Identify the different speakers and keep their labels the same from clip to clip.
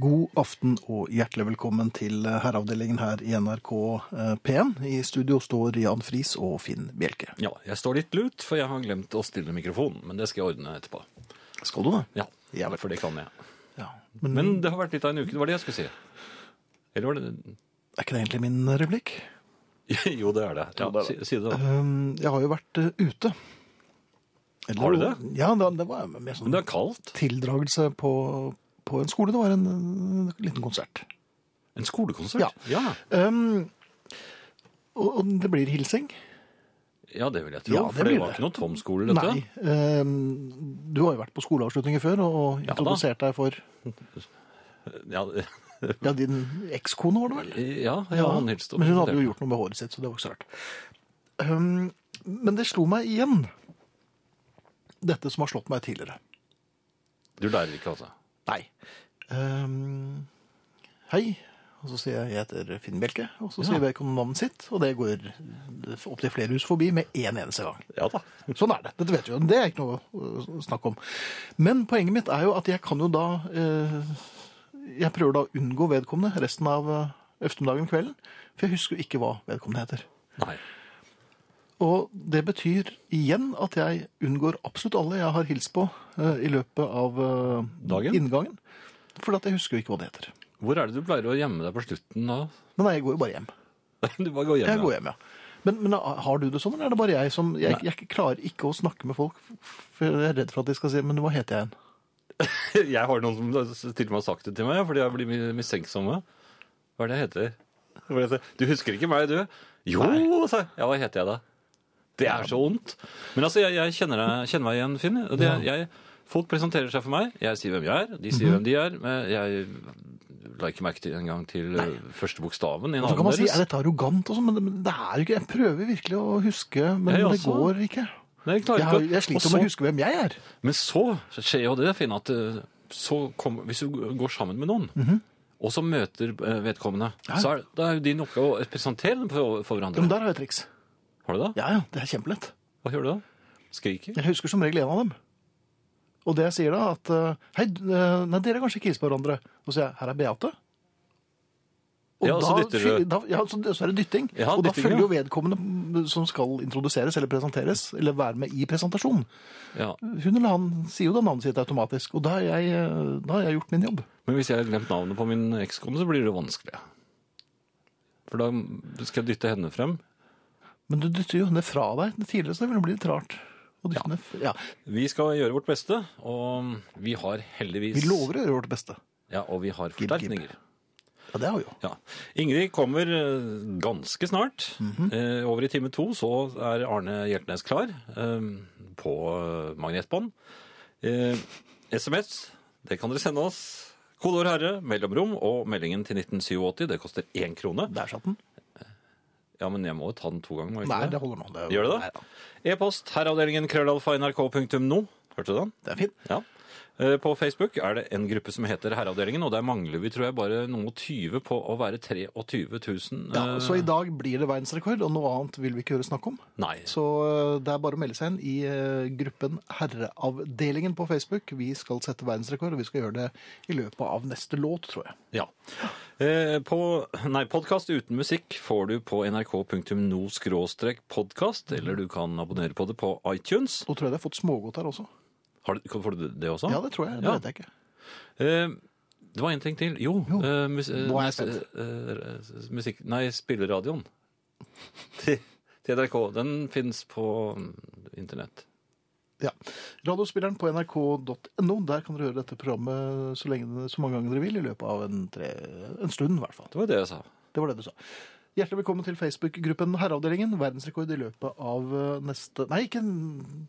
Speaker 1: God aften og hjertelig velkommen til eh, herreavdelingen her i NRK eh, P1. I studio står Jan Friis og Finn Bjelke.
Speaker 2: Ja, jeg står litt lut, for jeg har glemt å stille mikrofonen, men det skal jeg ordne etterpå.
Speaker 1: Skal du det?
Speaker 2: Ja,
Speaker 1: Ja vel.
Speaker 2: for det kan jeg.
Speaker 1: Ja. Men,
Speaker 2: Men det har vært litt av en uke, det var det jeg skulle si. Eller var det...
Speaker 1: er ikke det egentlig min eh, replikk?
Speaker 2: Jo, det er det. Ja, si, si det da.
Speaker 1: Um, jeg har jo vært eh, ute. Eller-
Speaker 2: Har du det?
Speaker 1: Ja, det, det var mer sånn
Speaker 2: Men det er kaldt.
Speaker 1: tildragelse på, på en skole. Det var en, eh, liten konsert.
Speaker 2: En skolekonsert.
Speaker 1: Ja. Um, og, og det blir hilsing.
Speaker 2: Ja, det vil jeg tro,
Speaker 1: Ja, det
Speaker 2: for det
Speaker 1: blir
Speaker 2: var
Speaker 1: det.
Speaker 2: ikke noe tom skole, dette.
Speaker 1: Nei. ehm, du har jo vært på skoleavslutninger før og og
Speaker 2: Ja da.
Speaker 1: introdusert deg for
Speaker 2: Ja,
Speaker 1: ja, din ekskone, var det vel?
Speaker 2: ja, ja han hilste.
Speaker 1: Men hun hadde jo gjort noe med håret sitt, så det var ikke så rart. Ehm, men det slo meg igjen, dette som har slått meg tidligere.
Speaker 2: Du lærer ikke, altså.
Speaker 1: Nei. Ehm, hei. Og så sier jeg jeg heter Finn Bjelke, og så sier vedkommende navnet sitt, og det går opptil flere hus forbi med én eneste gang.
Speaker 2: Ja da.
Speaker 1: Sånn er det. Dette vet vi jo. Det er ikke noe å snakke om. Men poenget mitt er jo at jeg kan jo da eh, Jeg prøver da å unngå vedkommende resten av eh, eftermiddagen kvelden. For jeg husker jo ikke hva vedkommende heter.
Speaker 2: Nei.
Speaker 1: Og det betyr igjen at jeg unngår absolutt alle jeg har hilst på eh, i løpet av eh,
Speaker 2: Dagen?
Speaker 1: inngangen. For at jeg husker jo ikke hva det heter.
Speaker 2: Hvor er det du pleier å gjemme deg på slutten da?
Speaker 1: Men nei, jeg går jo bare hjem.
Speaker 2: Du bare går hjem.
Speaker 1: Jeg
Speaker 2: ja.
Speaker 1: går hjem, ja. Men, men har du det sånn, eller er det bare jeg som Jeg, jeg klarer ikke å snakke med folk, for jeg er redd for at de skal si Men hva heter jeg igjen?
Speaker 2: Jeg har noen som til og med har sagt det til meg, fordi jeg blir mi- mistenksomme. Hva er det jeg heter? Hva er det jeg heter? Du husker ikke meg, du? Jo, sa jeg. Ja, hva heter jeg da? Det er så vondt. Men altså, jeg, jeg kjenner, deg, kjenner meg igjen, Finn. Og det, jeg, folk presenterer seg for meg. Jeg sier hvem jeg er, de sier
Speaker 1: Mhm.
Speaker 2: hvem de er. Men jeg la ikke merke til engang til eh, første bokstaven i
Speaker 1: Og så kan man
Speaker 2: navnet
Speaker 1: si,
Speaker 2: deres.
Speaker 1: er dette arrogant og sånn, men det, men det er jo ikke, jeg prøver virkelig å huske, men
Speaker 2: Jeg
Speaker 1: det
Speaker 2: også.
Speaker 1: går ikke.
Speaker 2: Nei, jeg klarer
Speaker 1: Jeg, har,
Speaker 2: ikke å-
Speaker 1: jeg
Speaker 2: Og
Speaker 1: sliter
Speaker 2: så-
Speaker 1: med å huske hvem jeg er.
Speaker 2: Men så skjer jo det, Finn, at eh, så kom, hvis du går sammen med noen,
Speaker 1: Mhm.
Speaker 2: og så møter eh, vedkommende, så er, da er jo din oppgave å presentere dem for, for hverandre.
Speaker 1: Men der har jeg triks.
Speaker 2: Har du det?
Speaker 1: Ja, ja, det er kjempelett.
Speaker 2: Hva gjør du da? Skriker?
Speaker 1: Jeg husker som regel en av dem. Og det jeg sier da, at eh, hei, d- eh, nei, dere kanskje ikke hilser på hverandre. Og så sier jeg, her er Beate. Og
Speaker 2: Ja, og så dytter du.
Speaker 1: fy- Da, ja, så, så er det dytting.
Speaker 2: Ja,
Speaker 1: og da
Speaker 2: dytting,
Speaker 1: følger
Speaker 2: ja.
Speaker 1: jo vedkommende som skal introduseres eller presenteres, eller være med i presentasjonen.
Speaker 2: Ja.
Speaker 1: Hun eller han sier jo da navnet sitt automatisk, og da har jeg, eh, da har jeg gjort min jobb.
Speaker 2: Men hvis jeg har glemt navnet på min ekskone, så blir det vanskelig. For da skal jeg dytte henne frem.
Speaker 1: Men du dytter jo henne fra deg tidligere, så det ville bli litt rart. å dytte henne f- ja.
Speaker 2: Vi skal gjøre vårt beste, og vi har heldigvis...
Speaker 1: Vi lover å gjøre vårt beste.
Speaker 2: Ja, og vi har
Speaker 1: gib.
Speaker 2: forsterkninger.
Speaker 1: Ja, det har vi jo.
Speaker 2: Ja. Ingrid kommer eh, ganske snart.
Speaker 1: Mhm.
Speaker 2: eh, over i time to så er Arne Hjeltnes klar eh, på eh, magnetbånd. Eh, SMS, det kan dere sende oss. Kodeord herre, mellomrom og meldingen til 1987. Det koster én krone.
Speaker 1: Der satt den.
Speaker 2: Ja, men jeg må jo ta den to ganger. må jeg ikke
Speaker 1: Nei, det holder nå. Det er jo-
Speaker 2: Gjør det
Speaker 1: Nei,
Speaker 2: det? E-post herreavdelingen krøllalfa.nrk.no. Hørte du den?
Speaker 1: det er fint.
Speaker 2: Ja. Eh, På Facebook er det en gruppe som heter Herreavdelingen, og der mangler vi tror jeg bare noe 20 på å være 23 000.
Speaker 1: Ja,
Speaker 2: eh,
Speaker 1: så i dag blir det verdensrekord, og noe annet vil vi ikke høre snakk om.
Speaker 2: Nei.
Speaker 1: Så eh, det er bare å melde seg inn i eh, gruppen Herreavdelingen på Facebook. Vi skal sette verdensrekord, og vi skal gjøre det i løpet av neste låt, tror jeg.
Speaker 2: Ja. Eh, På, nei, podkast uten musikk får du på nrk.no-podkast, eller du kan abonnere på det på iTunes.
Speaker 1: Nå tror jeg de har fått smågodt her også.
Speaker 2: Har du, får du det også?
Speaker 1: Ja, det tror jeg. Det
Speaker 2: Ja.
Speaker 1: vet jeg ikke.
Speaker 2: Eh, Det var en ting til. Jo,
Speaker 1: Jo.
Speaker 2: eh, mus, eh,
Speaker 1: Nå er jeg
Speaker 2: mus- eh, eh, musikk... Nei, spilleradioen. Til til NRK. Den fins på mm, internett.
Speaker 1: Ja. Radiospilleren på nrk.no. Der kan dere høre dette programmet så, lenge, så mange ganger dere vil, i løpet av en, tre, en stund i hvert fall.
Speaker 2: Det var det jeg sa.
Speaker 1: Det var det du sa. Hjertelig velkommen til Facebook-gruppen Herreavdelingen. Verdensrekord i løpet av eh, neste Nei, ikke n-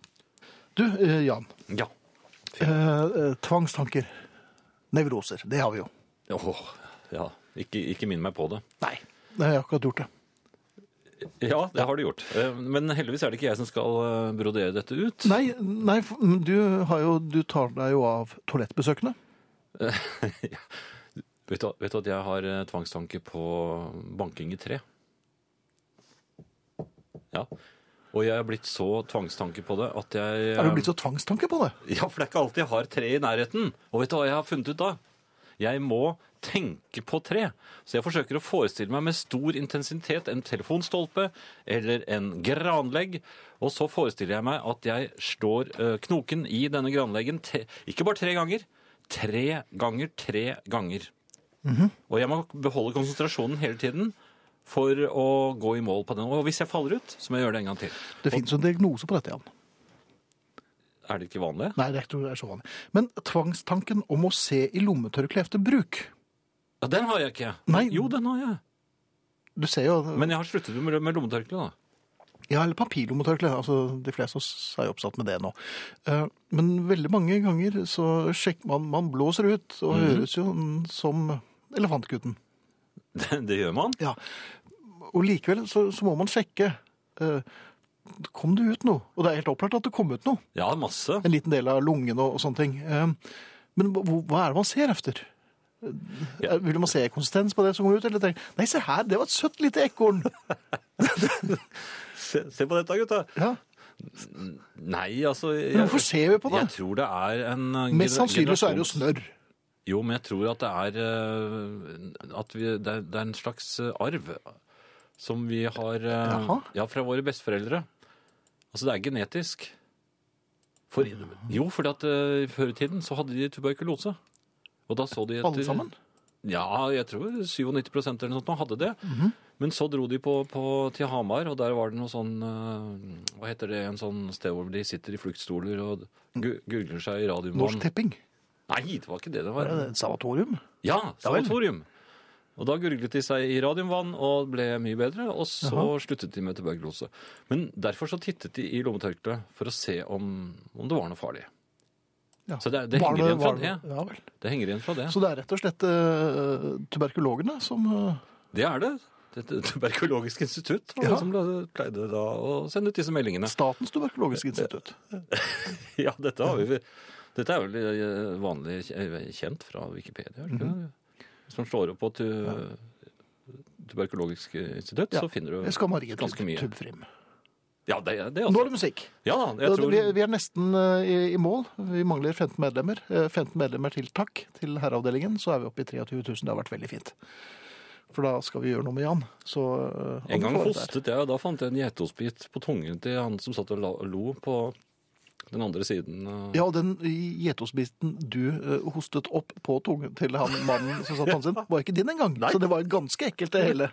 Speaker 1: Du, eh, Jan.
Speaker 2: Ja.
Speaker 1: Eh, eh, tvangstanker. Nevroser. Det har vi jo.
Speaker 2: Åh, ja. Ikke, ikke minn meg på det.
Speaker 1: Nei. Jeg har akkurat gjort det.
Speaker 2: Ja, det har du gjort. Eh, Men heldigvis er det ikke jeg som skal eh, brodere dette ut.
Speaker 1: Nei, nei f- mm, du, har jo, du tar deg jo av toalettbesøkende.
Speaker 2: Vet du, vet du at jeg har eh, tvangstanke på banking i tre? Ja. Og jeg er blitt så tvangstanke på det at jeg
Speaker 1: Er du blitt så tvangstanke på det?
Speaker 2: Ja, for det er ikke alltid jeg har tre i nærheten. Og vet du hva jeg har funnet ut da? Jeg må tenke på tre. Så jeg forsøker å forestille meg med stor intensitet en telefonstolpe eller en granlegg. Og så forestiller jeg meg at jeg slår eh, knoken i denne granleggen te ikke bare tre ganger. Tre ganger, tre ganger. Og jeg må beholde konsentrasjonen hele tiden for å gå i mål på den. Og hvis jeg faller ut, så må jeg gjøre det en gang til.
Speaker 1: Det finnes jo en diagnose på dette, Jan.
Speaker 2: Er det ikke vanlig?
Speaker 1: Nei, det er ikke det er så vanlig. Men tvangstanken om å se i lommetørkle etter bruk.
Speaker 2: Ja, den har jeg ikke.
Speaker 1: Nei.
Speaker 2: Jo, den har jeg.
Speaker 1: Du ser jo
Speaker 2: Men jeg har sluttet med, med lommetørkle, da.
Speaker 1: Ja, eller papirlommetørkle. Altså, de fleste av oss er jo oppsatt med det nå. Eh, Men veldig mange ganger så sjekker man Man blåser ut og høres jo som Elefantgutten.
Speaker 2: Det, det gjør man.
Speaker 1: Ja. Og likevel så, så må man sjekke. eh, Kom det ut noe? Og det er helt opplagt at det kom ut noe.
Speaker 2: Ja, masse.
Speaker 1: En liten del av lungen og, og sånne ting. Eh, Men hva- hvor- hva er det man ser efter? Eh,
Speaker 2: Ja.
Speaker 1: Vil man se konsistens på det som går ut? Eller tenker, Nei, se her, det var et søtt lite ekorn!
Speaker 2: Se, se på dette, gutta.
Speaker 1: Ja.
Speaker 2: Nei, altså jeg,
Speaker 1: Men hvorfor ser vi på
Speaker 2: Jeg
Speaker 1: det?
Speaker 2: tror det er en eh,
Speaker 1: Mest
Speaker 2: gener-
Speaker 1: sannsynlig så er det jo
Speaker 2: generasjons-
Speaker 1: snørr.
Speaker 2: Jo, men jeg tror at det er eh, At vi, det, er, det er en slags eh, arv som vi har eh,
Speaker 1: Jaha.
Speaker 2: Ja, fra våre besteforeldre. Altså, det er genetisk. For, jo, fordi at eh, før i tiden så hadde de tuberkulose. Og da så de etter
Speaker 1: Alle sammen?
Speaker 2: Ja, jeg tror 97 eller noe sånt nå hadde det.
Speaker 1: Mhm.
Speaker 2: Men så dro de på, på, til Hamar, og der var det noe sånn eh, Hva heter det? En sånn sted hvor de sitter i fluktstoler og gu- gurgler seg i
Speaker 1: Norsk
Speaker 2: radiomannen.
Speaker 1: Tipping?
Speaker 2: Nei, det var ikke det det
Speaker 1: Er
Speaker 2: var.
Speaker 1: det et sanatorium? Ja
Speaker 2: Ja,
Speaker 1: vel.
Speaker 2: sanatorium. Og da gurglet de seg i radiumvann og ble mye bedre, og så sluttet de med tuberkulose. Men derfor så tittet de i lommetørkleet for å se om, om det var noe farlig.
Speaker 1: Ja.
Speaker 2: Så det, det
Speaker 1: Var
Speaker 2: henger igjen fra
Speaker 1: var
Speaker 2: det.
Speaker 1: Ja vel.
Speaker 2: Det henger igjen fra det.
Speaker 1: Så det er rett og slett eh, tuberkulogene som eh,
Speaker 2: Det er det. Det er et tuberkulogisk institutt var
Speaker 1: Ja.
Speaker 2: det som pleide da å sende ut disse meldingene.
Speaker 1: Statens tuberkulogiske institutt.
Speaker 2: Ja, dette, har vi, dette er vel eh, vanlig kje- kjent fra Wikipedia. er det ikke det? Hvis man slår opp på tu, tuberkulogisk institutt,
Speaker 1: Ja.
Speaker 2: så finner du
Speaker 1: Jeg skal ha Marie til
Speaker 2: ganske mye.
Speaker 1: Tubfrim.
Speaker 2: Ja, det, det
Speaker 1: Nå er
Speaker 2: også.
Speaker 1: det musikk.
Speaker 2: Ja, da, jeg tror
Speaker 1: vi, vi er nesten eh, i, i mål. Vi mangler 15 medlemmer. Eh, 15 medlemmer til takk til herreavdelingen, så er vi oppe i 23 000. Det har vært veldig fint. For da skal vi gjøre noe med Jan. Så, eh, han
Speaker 2: En gang
Speaker 1: får det der.
Speaker 2: hostet jeg, og da fant jeg en geitostbit på tungen til han som satt og la- lo på den andre siden. eh.
Speaker 1: Ja, og den gjetosbiten du eh, hostet opp på tungen til han mannen som satt på sin, var ikke din engang. Så det var ganske ekkelt, det hele.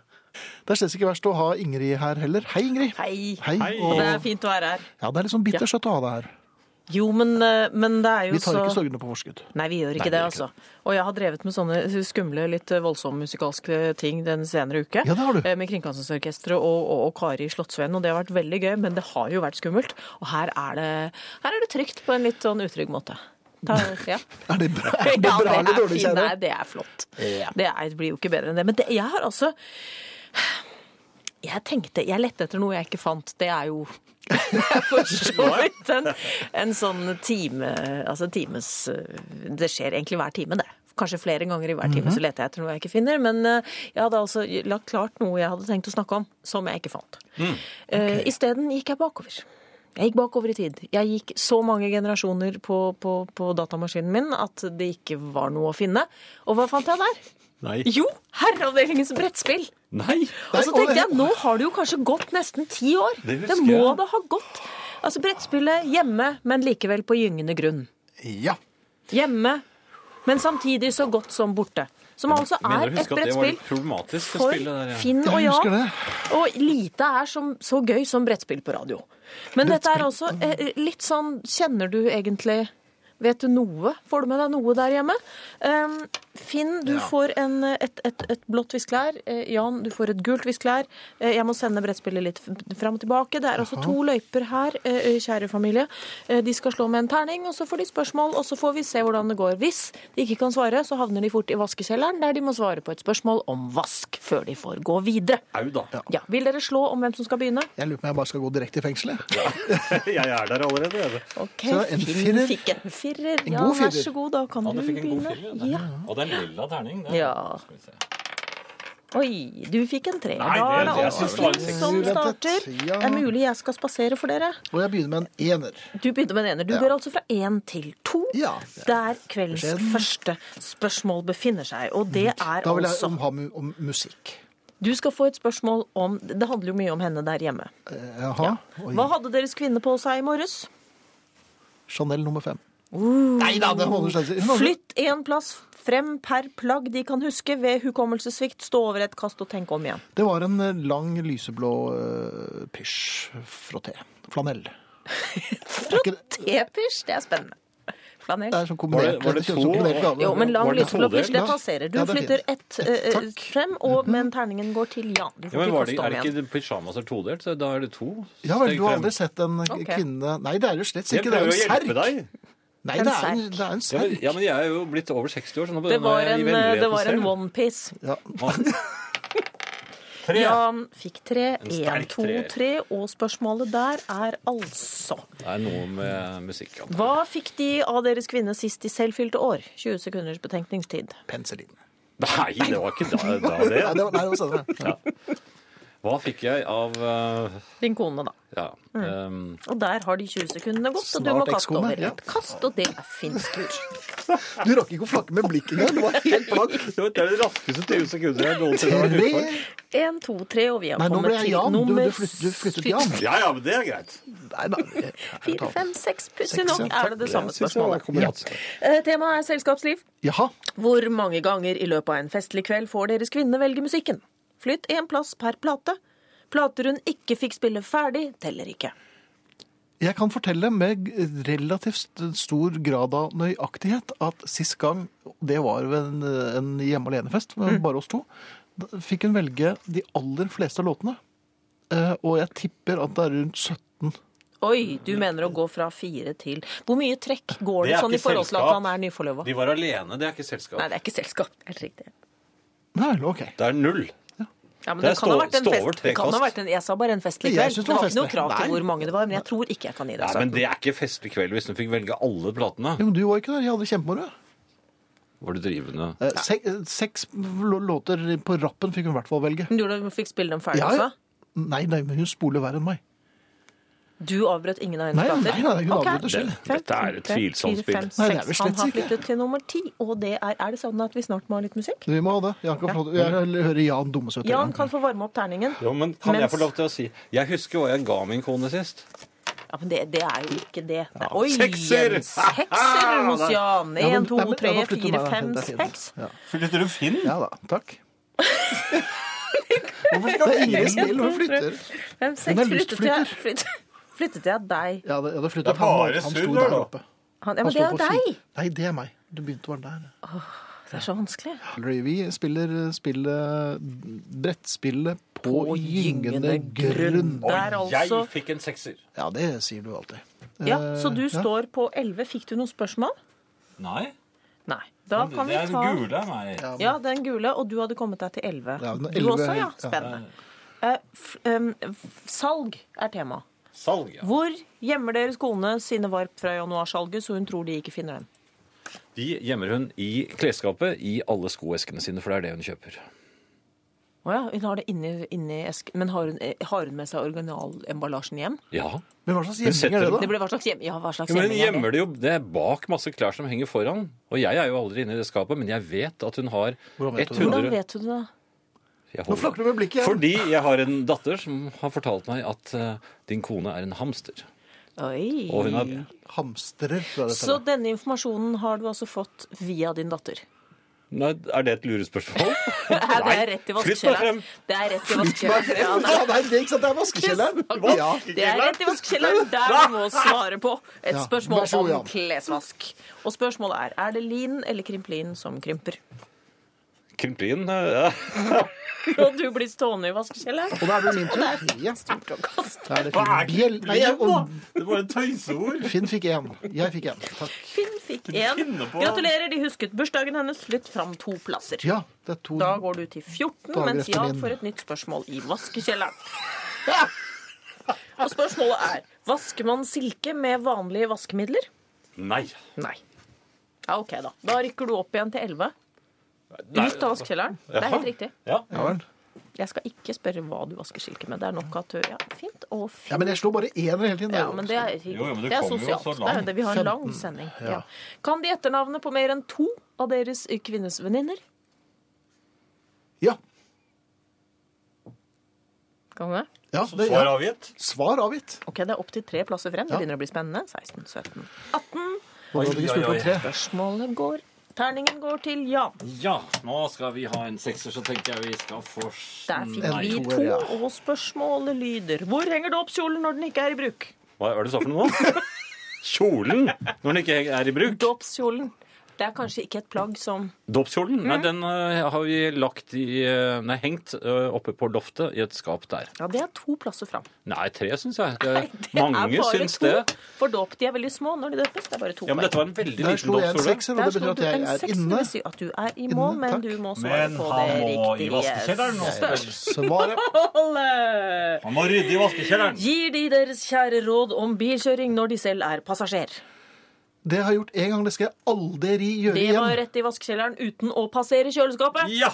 Speaker 1: Det er slett ikke verst å ha Ingrid her heller. Hei, Ingrid.
Speaker 3: Hei.
Speaker 1: Hei.
Speaker 2: Hei.
Speaker 1: Og,
Speaker 3: Det er fint å være her.
Speaker 1: ja, det er litt sånn bittersøtt å ha deg her.
Speaker 3: Jo, men, eh, men det er jo
Speaker 1: Vi tar
Speaker 3: så
Speaker 1: ikke sorgene på forskudd.
Speaker 3: Nei, vi gjør
Speaker 2: Nei,
Speaker 3: ikke
Speaker 2: vi
Speaker 3: det,
Speaker 2: gjør
Speaker 3: altså. Og jeg har drevet med sånne skumle, litt voldsomme musikalske ting den senere uke.
Speaker 1: Ja, det har du.
Speaker 3: Eh, Med Kringkastingsorkesteret og, og, og Kari Slottsveen, og det har vært veldig gøy, men det har jo vært skummelt. Og her er det, her er det trygt på en litt sånn utrygg måte. Ta, ja.
Speaker 1: Er det bra,
Speaker 3: Ja,
Speaker 1: er det bra eller dårlig,
Speaker 3: fint.
Speaker 1: kjære?
Speaker 3: Nei, det er flott. Det er, blir jo ikke bedre enn det. Men det, jeg har altså Jeg tenkte, jeg lette etter noe jeg ikke fant. Det er jo det er for så vidt en, en sånn time Altså times Det skjer egentlig hver time, det. Kanskje flere ganger i hver time så leter jeg etter noe jeg ikke finner. Men eh, jeg hadde altså lagt klart noe jeg hadde tenkt å snakke om, som jeg ikke fant. Eh, Isteden gikk jeg bakover. Jeg gikk bakover i tid. Jeg gikk så mange generasjoner på, på, på datamaskinen min at det ikke var noe å finne. Og hva fant jeg der?
Speaker 2: Nei.
Speaker 3: Jo, Herreavdelingens brettspill!
Speaker 2: Nei!
Speaker 3: Og så tenkte jeg, nå har det jo kanskje gått nesten ti år.
Speaker 2: Det husker
Speaker 3: Det må
Speaker 2: jeg.
Speaker 3: det ha gått. Altså brettspillet hjemme, men likevel på gyngende grunn.
Speaker 1: Ja.
Speaker 3: Hjemme, men samtidig så godt som borte. Som altså
Speaker 2: Mener
Speaker 3: er
Speaker 2: å
Speaker 3: et
Speaker 2: huske at det var
Speaker 3: brettspill
Speaker 2: litt problematisk å
Speaker 3: for
Speaker 2: spille der. Ja.
Speaker 3: Finn og
Speaker 1: Jeg husker
Speaker 3: Jan.
Speaker 1: det.
Speaker 3: Og lite er som, så gøy som brettspill på radio. Men dette er også eh, litt sånn Kjenner du egentlig Vet du noe? Får du med deg noe der hjemme? Um, Finn, du får en, eh, et, et, et blått viskelær. Eh, Jan, du får et gult viskelær. Eh, jeg må sende brettspillet litt f- fram og tilbake. Det er altså to løyper her, eh, kjære familie. Eh, de skal slå med en terning, og så får de spørsmål, og så får vi se hvordan det går. Hvis de ikke kan svare, så havner de fort i vaskekjelleren, der de må svare på et spørsmål om vask før de får gå videre.
Speaker 2: Au da.
Speaker 3: Ja, Vil dere slå om hvem som skal begynne?
Speaker 1: Jeg lurer på om jeg bare skal gå direkte i fengselet.
Speaker 2: Jeg er der allerede. jeg.
Speaker 3: Ok,
Speaker 1: Så en
Speaker 3: Finn
Speaker 1: firer.
Speaker 3: fikk en firer.
Speaker 1: En
Speaker 3: ja,
Speaker 1: god
Speaker 3: Vær
Speaker 1: firer.
Speaker 3: så god, da kan
Speaker 2: Ja,
Speaker 3: du
Speaker 2: du fikk en god
Speaker 3: begynne.
Speaker 2: film. Ja.
Speaker 3: ja.
Speaker 2: Og det er en lilla terning. det.
Speaker 3: Ja.
Speaker 2: Skal vi se.
Speaker 3: Oi, du fikk en treer.
Speaker 2: Nei, det-
Speaker 3: Da er det
Speaker 2: det- jeg synes det var en
Speaker 3: Åshild som
Speaker 1: sekser.
Speaker 3: starter.
Speaker 1: Ja.
Speaker 3: Det er mulig jeg skal spasere for dere.
Speaker 1: Og jeg begynner med en ener.
Speaker 3: Du begynner med en ener. Du går altså fra én til to,
Speaker 1: Ja.
Speaker 3: der kveldens
Speaker 1: Skjønn. Mm.
Speaker 3: første spørsmål befinner seg. Og det er
Speaker 1: Da vil jeg
Speaker 3: altså
Speaker 1: om, ha mu- om musikk.
Speaker 3: Du skal få et spørsmål om Det handler jo mye om henne der hjemme.
Speaker 1: Eh, Jaha. Oi.
Speaker 3: Hva hadde deres kvinne på seg i morges?
Speaker 1: Chanel nummer fem. Nei da, det holder seg til. Altså, Hun hadde-
Speaker 3: Uh. Flytt én plass frem per plagg de kan huske ved hukommelsessvikt. Stå over et kast og tenk om igjen.
Speaker 1: Det var en eh, lang lyseblå uh, pysjfrotté. Flanell. Er ikke det-
Speaker 3: Tepysj, det er spennende. Flanell.
Speaker 1: Det er sånn kombinert,
Speaker 2: Var det- var det
Speaker 1: kjøpes som
Speaker 2: to?
Speaker 1: kombinert gave.
Speaker 3: Jo, men lang
Speaker 2: Var det
Speaker 3: lysblå
Speaker 2: todelt,
Speaker 3: pysj, det
Speaker 1: da?
Speaker 3: passerer. Du
Speaker 1: Ja, det er
Speaker 3: flytter
Speaker 1: fint.
Speaker 3: ett eh,
Speaker 1: Takk. Mm-hmm.
Speaker 3: frem, og, men terningen går til Jan. Du
Speaker 2: Ja, men
Speaker 3: får ikke
Speaker 2: var det,
Speaker 3: kaste
Speaker 2: er
Speaker 3: om
Speaker 2: det
Speaker 3: igjen.
Speaker 2: ikke pysjamas er todelt? Så da er det to
Speaker 1: Ja vel,
Speaker 2: steg
Speaker 1: du har
Speaker 2: frem.
Speaker 1: aldri sett en k-
Speaker 3: Ok.
Speaker 1: kvinne Nei, det er jo slett
Speaker 2: Jeg
Speaker 1: ikke. Det er
Speaker 2: prøver
Speaker 1: jo
Speaker 2: å
Speaker 1: en
Speaker 2: hjelpe
Speaker 1: serk.
Speaker 2: deg.
Speaker 1: Nei,
Speaker 3: En
Speaker 1: det er en,
Speaker 3: serk.
Speaker 1: det er en
Speaker 2: Ja men,
Speaker 1: serk.
Speaker 2: ja, men jeg er jo blitt over 60 år, så nå
Speaker 3: Det var
Speaker 2: begynner jeg
Speaker 3: en,
Speaker 2: i
Speaker 3: eh, det
Speaker 2: vennligheten
Speaker 3: var en
Speaker 2: selv.
Speaker 3: onepiece.
Speaker 1: Ja.
Speaker 2: Tre.
Speaker 3: Jan fikk tre. Én,
Speaker 2: sterk
Speaker 3: to,
Speaker 2: treer.
Speaker 3: tre. Og spørsmålet der er altså
Speaker 2: Det er noe med musikk. ja.
Speaker 3: Hva fikk de av deres kvinne sist de selv fylte år? 20 sekunders betenkningstid.
Speaker 1: Penicillin.
Speaker 2: Nei, det var ikke da, da det.
Speaker 1: Nei, det var, nei, det var senere.
Speaker 2: Hva fikk jeg av eh,
Speaker 3: Din kone, da.
Speaker 2: Ja.
Speaker 3: Mm.
Speaker 2: ehm,
Speaker 3: Og der har de 20 sekundene gått, og du må
Speaker 1: Snart
Speaker 3: kaste
Speaker 1: ekskone,
Speaker 3: over.
Speaker 1: ja.
Speaker 3: Et Kast, og det er Finns tur.
Speaker 1: Du rakk ikke å flakke med blikket engang. Det var helt blank.
Speaker 2: det var- det er det raskeste 20 sekunder jeg noensinne har vært ute
Speaker 1: Tre.
Speaker 2: for.
Speaker 3: Én, to, tre, og vi har
Speaker 1: Nei, nå ble
Speaker 3: kommet
Speaker 1: jeg
Speaker 3: til
Speaker 1: Jan. Du,
Speaker 3: nummer
Speaker 1: du, flyttet, du flyttet Jan.
Speaker 2: Ja, ja, men det er greit.
Speaker 1: Nei, da. jeg- jeg
Speaker 3: fire,
Speaker 1: tar den.
Speaker 3: fem, seks. Pussig
Speaker 1: Seks,
Speaker 3: nok
Speaker 1: ja,
Speaker 3: er det det samme
Speaker 2: Jeg synes det var
Speaker 3: spørsmålet.
Speaker 2: akkurat.
Speaker 3: Eh, Temaet er selskapsliv.
Speaker 1: Jaha.
Speaker 3: Hvor mange ganger i løpet av en festlig kveld får deres kvinne velge musikken? Flytt én plass per plate. Plater hun ikke fikk spille ferdig, teller ikke.
Speaker 1: Jeg kan fortelle med relativt st- stor grad av nøyaktighet at sist gang, det var ved en, en hjemme alene-fest, med
Speaker 3: Mm.
Speaker 1: bare oss to, da fikk hun velge de aller fleste av låtene. Eh, og jeg tipper at det er rundt 17.
Speaker 3: Oi, du mener å gå fra fire til Hvor mye trekk går
Speaker 2: Det
Speaker 3: det,
Speaker 2: er
Speaker 3: sånn i
Speaker 2: ikke
Speaker 3: forhold til at
Speaker 2: selskap.
Speaker 3: han er nyforlova?
Speaker 2: De var alene, det er ikke selskap.
Speaker 3: Nei, det er ikke selskap. Det er Helt riktig.
Speaker 1: Nei vel, OK.
Speaker 2: Det er null.
Speaker 3: Ja, men
Speaker 2: Det
Speaker 3: det,
Speaker 2: er
Speaker 3: kan ha
Speaker 2: stå-
Speaker 3: vært en
Speaker 2: stå over
Speaker 3: fest. Det kan ha
Speaker 2: trekost.
Speaker 3: vært en, jeg sa bare en festlig
Speaker 1: Jeg
Speaker 3: kveld.
Speaker 1: synes det
Speaker 3: Det
Speaker 1: var
Speaker 3: var ikke noe
Speaker 1: festlig.
Speaker 3: krav
Speaker 1: Nei.
Speaker 3: til hvor mange det var, men jeg tror ikke jeg kan gi deg
Speaker 2: Nei,
Speaker 3: sånn.
Speaker 2: men det er ikke festlig kveld hvis du fikk velge alle platene.
Speaker 3: Mm.
Speaker 1: Jo, men du var ikke der. Jeg hadde kjempemoro.
Speaker 2: Var du drivende?
Speaker 1: Eh, sek- eh, Seks lå- låter på rappen fikk hun i hvert fall velge.
Speaker 3: Men Du du fikk spille dem ferdig
Speaker 1: Ja, ja.
Speaker 3: også?
Speaker 1: Nei, nei, men hun spoler verre enn meg.
Speaker 3: Du avbrøt ingen av hennes
Speaker 1: Nei, nei,
Speaker 3: plater?
Speaker 1: nei, nei hun
Speaker 3: Ok.
Speaker 1: avbryter selv.
Speaker 2: Det- Dette er et tvilsomt
Speaker 3: Fire,
Speaker 2: spill.
Speaker 1: Nei,
Speaker 3: fem,
Speaker 1: det er
Speaker 3: seks.
Speaker 1: vel
Speaker 3: Han
Speaker 1: slett
Speaker 3: har
Speaker 1: ikke.
Speaker 3: flyttet til nummer ti, og det er Er det sånn at vi snart må ha litt musikk?
Speaker 1: Vi må ha det. Jeg, kan få, jeg hører Jan dumme seg ut.
Speaker 3: Jan kan få varme opp terningen.
Speaker 2: Jo, men kan jeg
Speaker 3: Mens-
Speaker 2: få lov til å si Jeg husker hva jeg ga min kone sist.
Speaker 3: Ja, men det, det er jo ikke det. det er, oi,
Speaker 2: Sekser!
Speaker 3: en sekser hos Jan!
Speaker 1: Ja, men-
Speaker 3: Én, to,
Speaker 1: nei, men-
Speaker 3: tre,
Speaker 1: ja, da flytter
Speaker 3: fire,
Speaker 1: meg,
Speaker 3: fem,
Speaker 1: det er fint.
Speaker 3: seks.
Speaker 1: Ja.
Speaker 2: Flytter du Finn?
Speaker 1: ja da. Takk.
Speaker 2: Hvorfor
Speaker 1: Det
Speaker 2: skal
Speaker 1: er Ingrid Spill, hun flytter. Hun
Speaker 3: Fem,
Speaker 1: er
Speaker 3: seks flyttet jeg,
Speaker 1: luftflytter.
Speaker 3: flyttet, flyttet jeg deg.
Speaker 1: Ja, det, ja, det
Speaker 2: Det
Speaker 1: flyttet
Speaker 2: er
Speaker 1: han,
Speaker 2: bare
Speaker 1: han
Speaker 2: surr
Speaker 1: sto
Speaker 2: der,
Speaker 1: der
Speaker 2: da.
Speaker 1: oppe.
Speaker 3: Han, ja,
Speaker 1: Han
Speaker 3: men det
Speaker 1: sto
Speaker 3: er
Speaker 1: på
Speaker 3: deg!
Speaker 1: fil- Nei, det er meg. Du begynte å være der.
Speaker 3: Det er så vanskelig.
Speaker 1: Røyvi spiller spillet brettspillet på,
Speaker 3: På
Speaker 1: gyngende
Speaker 3: gyngende
Speaker 1: grunn.
Speaker 3: grunn. Der altså-
Speaker 2: Jeg fikk en sekser.
Speaker 1: Ja, det sier du alltid.
Speaker 3: Ja,
Speaker 1: Eh,
Speaker 3: Så du
Speaker 1: ja.
Speaker 3: står på elleve. Fikk du noen spørsmål?
Speaker 2: Nei.
Speaker 3: Nei. Da kan vi ta
Speaker 2: av meg.
Speaker 3: Ja, den gule, og du hadde kommet deg til 11.
Speaker 1: Ja, den
Speaker 3: du
Speaker 1: 11,
Speaker 3: også, ja.
Speaker 1: ja.
Speaker 3: Spennende. Eh, f, em, f- salg er tema.
Speaker 2: Salg, ja.
Speaker 3: Hvor gjemmer deres kone sine varp fra januarsalget, så hun tror de ikke finner dem?
Speaker 2: De gjemmer hun i klesskapet i alle skoeskene sine, for det er det hun kjøper.
Speaker 3: Å ja, hun har det inni, inni esken. Men har hun, eh, har hun med seg originalemballasjen hjem?
Speaker 2: Ja.
Speaker 1: Men hva slags
Speaker 2: Hun
Speaker 1: gjemming er
Speaker 2: setter-
Speaker 1: det,
Speaker 3: Det
Speaker 1: da?
Speaker 3: blir hva slags hjem? Ja, hva slags
Speaker 2: Jo, Men hun
Speaker 3: gjemming er
Speaker 2: gjemmer
Speaker 3: det?
Speaker 2: det jo det er bak masse klær som henger foran. Og jeg er jo aldri inne i det skapet, men jeg vet at hun har
Speaker 1: Hvordan vet du det?
Speaker 2: 100
Speaker 3: Hvordan vet hun det?
Speaker 2: Jeg
Speaker 1: Nå
Speaker 2: holder-
Speaker 1: flakker du med blikket igjen.
Speaker 2: Fordi jeg har en datter som har fortalt meg at eh, din kone er en hamster. Og hun
Speaker 3: Oi.
Speaker 2: er
Speaker 1: Hamstrer. tror jeg det
Speaker 3: Så
Speaker 1: heter.
Speaker 3: denne informasjonen har du altså fått via din datter?
Speaker 2: Nei, Er det et lurespørsmål?
Speaker 3: Nei, det
Speaker 2: Nei,
Speaker 3: er rett i
Speaker 2: flytt meg
Speaker 3: vaskekjelleren.
Speaker 2: frem.
Speaker 3: Det er rett i vaskekjelleren. Ja, nei.
Speaker 1: Ja, nei, det er ikke sant, det er vaskekjelleren. Ja.
Speaker 3: Det er rett i vaskekjelleren der vi må svare på et
Speaker 1: Ja,
Speaker 3: spørsmål
Speaker 1: vær så god,
Speaker 3: om
Speaker 1: Jan.
Speaker 3: klesvask. Og spørsmålet er er det lin eller krimplin som krymper?
Speaker 2: Krimplin? eh,
Speaker 3: Og du blir stående i vaskekjelleren.
Speaker 1: Og da er det min tur. Ja. Da er det Finn. Bjell... Nei, jeg, og
Speaker 2: Det var et tøyseord.
Speaker 1: Finn fikk én. Jeg fikk én. Takk.
Speaker 3: Finn fikk én. Gratulerer, de husket bursdagen hennes. Flytt fram to plasser.
Speaker 1: Ja, det er to.
Speaker 3: Da går du til 14,
Speaker 1: Dager
Speaker 3: mens
Speaker 1: etter
Speaker 3: Jan
Speaker 1: min.
Speaker 3: får et nytt spørsmål i vaskekjelleren. Og spørsmålet er vasker man silke med vanlige vaskemidler?
Speaker 2: Nei.
Speaker 3: Nei. Ja, OK, da. Da rykker du opp igjen til 11. Ut av vaskekjelleren. Det er helt riktig.
Speaker 2: Ja.
Speaker 1: Ja vel.
Speaker 3: Jeg skal ikke spørre hva du vasker silke med. Det er nok at du Ja, fint og fint.
Speaker 1: Ja, men jeg slo bare enere hele tiden.
Speaker 3: Ja, men det er,
Speaker 2: Jo, jo, men det
Speaker 3: det er
Speaker 2: kommer jo
Speaker 3: sosialt.
Speaker 2: så
Speaker 3: Det er jo
Speaker 2: langt.
Speaker 3: det. Vi har en lang sending. Ja. Kan de etternavnet på mer enn to av deres kvinnes venninner?
Speaker 1: Ja.
Speaker 3: Kan du det?
Speaker 1: ja, det,
Speaker 2: Svar
Speaker 1: ja.
Speaker 2: avgitt.
Speaker 1: Svar avgitt.
Speaker 3: Ok, det er opptil tre plasser frem. Det
Speaker 1: Ja.
Speaker 3: begynner å bli spennende. 16, 17.
Speaker 1: Nå hadde ikke
Speaker 2: Oi, oi,
Speaker 1: spurt om
Speaker 2: oi.
Speaker 1: tre.
Speaker 3: Spørsmålet går Terningen går til Jan.
Speaker 2: Ja, nå skal vi ha en sekser, så tenker jeg vi skal få
Speaker 3: Der fikk
Speaker 1: Nei.
Speaker 3: vi
Speaker 1: En
Speaker 3: to,
Speaker 1: toer, ja.
Speaker 3: og spørsmålet lyder Hvor henger du opp kjolen når den ikke er i bruk?
Speaker 2: Hva er det du sa for noe nå? Kjolen! Når den ikke er i bruk.
Speaker 3: Dåpskjolen. Det er kanskje ikke et plagg som
Speaker 2: Dåpskjolen? Nei, den eh, har vi lagt i eh, Nei, hengt eh, oppe på loftet i et skap der.
Speaker 3: Ja, det er to plasser fram.
Speaker 2: Nei, tre, syns jeg.
Speaker 1: Eh,
Speaker 2: Det,
Speaker 3: Nei,
Speaker 2: mange syns
Speaker 3: to.
Speaker 2: det.
Speaker 3: For dåp, de er veldig små når de døpes. Det er bare to
Speaker 2: Ja, men
Speaker 3: poeng.
Speaker 2: dette var en veldig
Speaker 1: Der
Speaker 2: liten
Speaker 1: slo jeg en
Speaker 2: dåpskjole.
Speaker 1: sekser, og det
Speaker 3: Der
Speaker 1: betyr
Speaker 3: slo
Speaker 1: at
Speaker 3: du
Speaker 1: jeg
Speaker 3: en
Speaker 1: er
Speaker 3: seks, det
Speaker 1: inne.
Speaker 3: vil si at du er i mål,
Speaker 1: Inne,
Speaker 3: men
Speaker 1: takk.
Speaker 3: du må svare
Speaker 2: Men
Speaker 3: på
Speaker 2: han må
Speaker 3: det
Speaker 2: i
Speaker 3: riktige
Speaker 2: vaskekjelleren nå.
Speaker 1: Svaret
Speaker 3: spørsmålet.
Speaker 2: Han må rydde i vaskekjelleren.
Speaker 3: Gir de deres kjære råd om bilkjøring når de selv er passasjer?
Speaker 1: Det har jeg gjort én gang, det skal jeg aldri gjøre
Speaker 3: Det var
Speaker 1: igjen.
Speaker 3: rett i vaskekjelleren uten å passere kjøleskapet.
Speaker 2: Ja!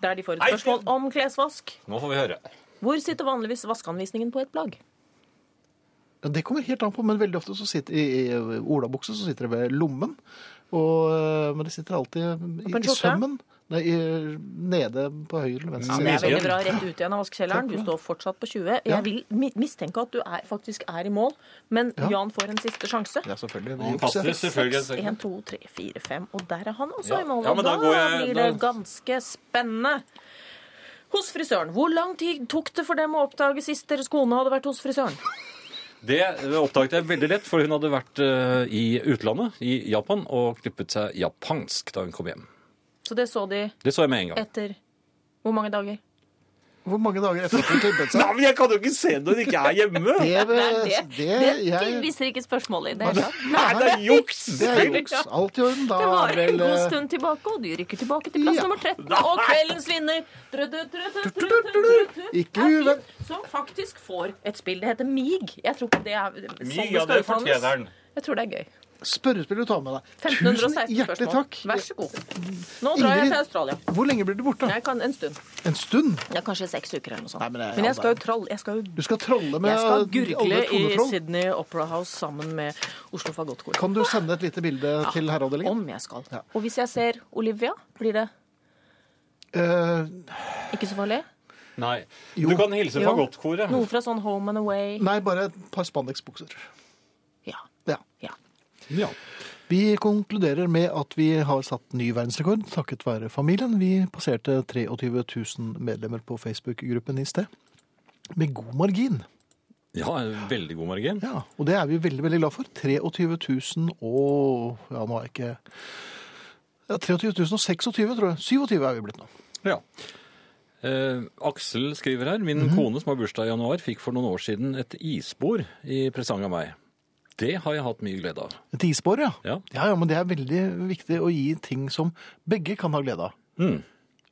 Speaker 3: Der de får et
Speaker 2: Nei,
Speaker 3: spørsmål om klesvask.
Speaker 2: Nå får vi høre.
Speaker 3: Hvor sitter vanligvis vaskeanvisningen på et plagg?
Speaker 1: Ja, Det kommer helt an på, men veldig ofte så sitter i, i olabukse så sitter det ved lommen. Og, øh, men det sitter alltid i,
Speaker 3: på en
Speaker 1: i
Speaker 3: skjorte?
Speaker 1: sømmen. Nei, i, nede på høyre eller venstre
Speaker 3: Det
Speaker 2: Ja,
Speaker 1: side.
Speaker 3: er veldig bra. Rett ut igjen av vaskekjelleren.
Speaker 1: Takk for
Speaker 3: Du
Speaker 1: det.
Speaker 3: står fortsatt på 20. Jeg
Speaker 1: Ja.
Speaker 3: vil mi- mistenke at du er, faktisk er i mål, men
Speaker 1: Ja.
Speaker 3: Jan får en siste sjanse.
Speaker 1: Ja, selvfølgelig. Det
Speaker 2: Han
Speaker 1: jukser.
Speaker 2: passer selvfølgelig en
Speaker 3: 6,
Speaker 2: sekser.
Speaker 3: 1, 2, 3, 4, 5. Og der er han også
Speaker 2: Ja.
Speaker 3: i mål.
Speaker 2: Ja,
Speaker 3: Og
Speaker 2: men
Speaker 3: da,
Speaker 2: da går jeg-
Speaker 3: blir
Speaker 2: da-
Speaker 3: det ganske spennende. Hos frisøren. Hvor lang tid tok det for dem å oppdage sist deres kone hadde vært hos frisøren?
Speaker 2: Det oppdaget jeg veldig lett, for hun hadde vært eh, i utlandet, i Japan, og klippet seg japansk da hun kom hjem.
Speaker 3: Så det så de
Speaker 2: Det så jeg med en gang.
Speaker 3: etter hvor mange dager?
Speaker 1: Hvor mange dager etter at hun klippet seg?
Speaker 2: Nei, men jeg kan jo ikke se når hun ikke er hjemme!
Speaker 1: Det, Eh, det,
Speaker 3: det
Speaker 1: jeg,
Speaker 3: viser ikke spørsmålet i det hele tatt.
Speaker 2: Nei, det er juks!
Speaker 1: det er juks. Alt i orden. Da
Speaker 3: Det
Speaker 1: er
Speaker 3: var en
Speaker 1: vel
Speaker 3: god
Speaker 1: eh,
Speaker 3: stund tilbake, og du rykker tilbake til plass
Speaker 1: Ja.
Speaker 3: nummer 13. Og kveldens vinner drø, drø, drø, drø, drø, drø, drø, drø,
Speaker 1: Ikke
Speaker 3: er
Speaker 1: uven-
Speaker 3: Finn, Som faktisk får et spill. Det heter MIG. Jeg tror ikke det er sånn
Speaker 2: Ja,
Speaker 3: det
Speaker 2: det
Speaker 3: skal
Speaker 2: fortjener
Speaker 3: utdannes.
Speaker 2: den.
Speaker 3: Jeg tror det er gøy.
Speaker 1: spørrespill du tar med deg.
Speaker 3: 1516
Speaker 1: Tusen hjertelig
Speaker 3: spørsmål.
Speaker 1: takk.
Speaker 3: Vær så god. Nå drar jeg
Speaker 1: Ingrid-
Speaker 3: til Australia.
Speaker 1: Hvor lenge blir du borte?
Speaker 3: Jeg kan en stund.
Speaker 1: En stund?
Speaker 3: Ja, kanskje seks uker eller noe sånt.
Speaker 1: Nei, men det er
Speaker 3: Men jeg skal
Speaker 1: all
Speaker 3: jo tralle. Jeg skal jo
Speaker 1: Du skal trolle med
Speaker 3: jeg skal
Speaker 1: alle
Speaker 3: gurgle i
Speaker 1: tonetroll.
Speaker 3: Sydney Opera House sammen med Oslo Fagottkor.
Speaker 1: Kan du sende et lite bilde til herreavdelingen?
Speaker 3: Om jeg skal.
Speaker 1: Ja.
Speaker 3: Og hvis jeg ser Olivia, blir det
Speaker 1: Eh,
Speaker 3: ikke så farlig?
Speaker 2: Nei.
Speaker 1: Jo.
Speaker 2: Du kan hilse
Speaker 3: Jo.
Speaker 2: fagottkoret.
Speaker 3: Noe fra sånn Home and Away.
Speaker 1: nei, bare et par spandeksbukser.
Speaker 3: Ja.
Speaker 1: Ja.
Speaker 3: ja.
Speaker 2: Ja.
Speaker 1: Vi konkluderer med at vi har satt ny verdensrekord takket være familien. Vi passerte 23 000 medlemmer på Facebook-gruppen i sted. Med god margin.
Speaker 2: ja, en veldig god margin.
Speaker 1: Ja, og det er vi veldig, veldig glad for. 23 000 og Ja, nå er jeg ikke ja, 23 000 og 26, tror jeg. 27 er vi blitt nå.
Speaker 2: Ja. Eh, Aksel skriver her Min
Speaker 1: Mhm.
Speaker 2: kone som har bursdag i januar, fikk for noen år siden et isbord i presang av meg. Det har jeg hatt mye glede av.
Speaker 1: Et isbår, ja.
Speaker 2: Ja.
Speaker 1: ja. Ja, men det er veldig viktig å gi ting som begge kan ha glede av.
Speaker 2: Mm.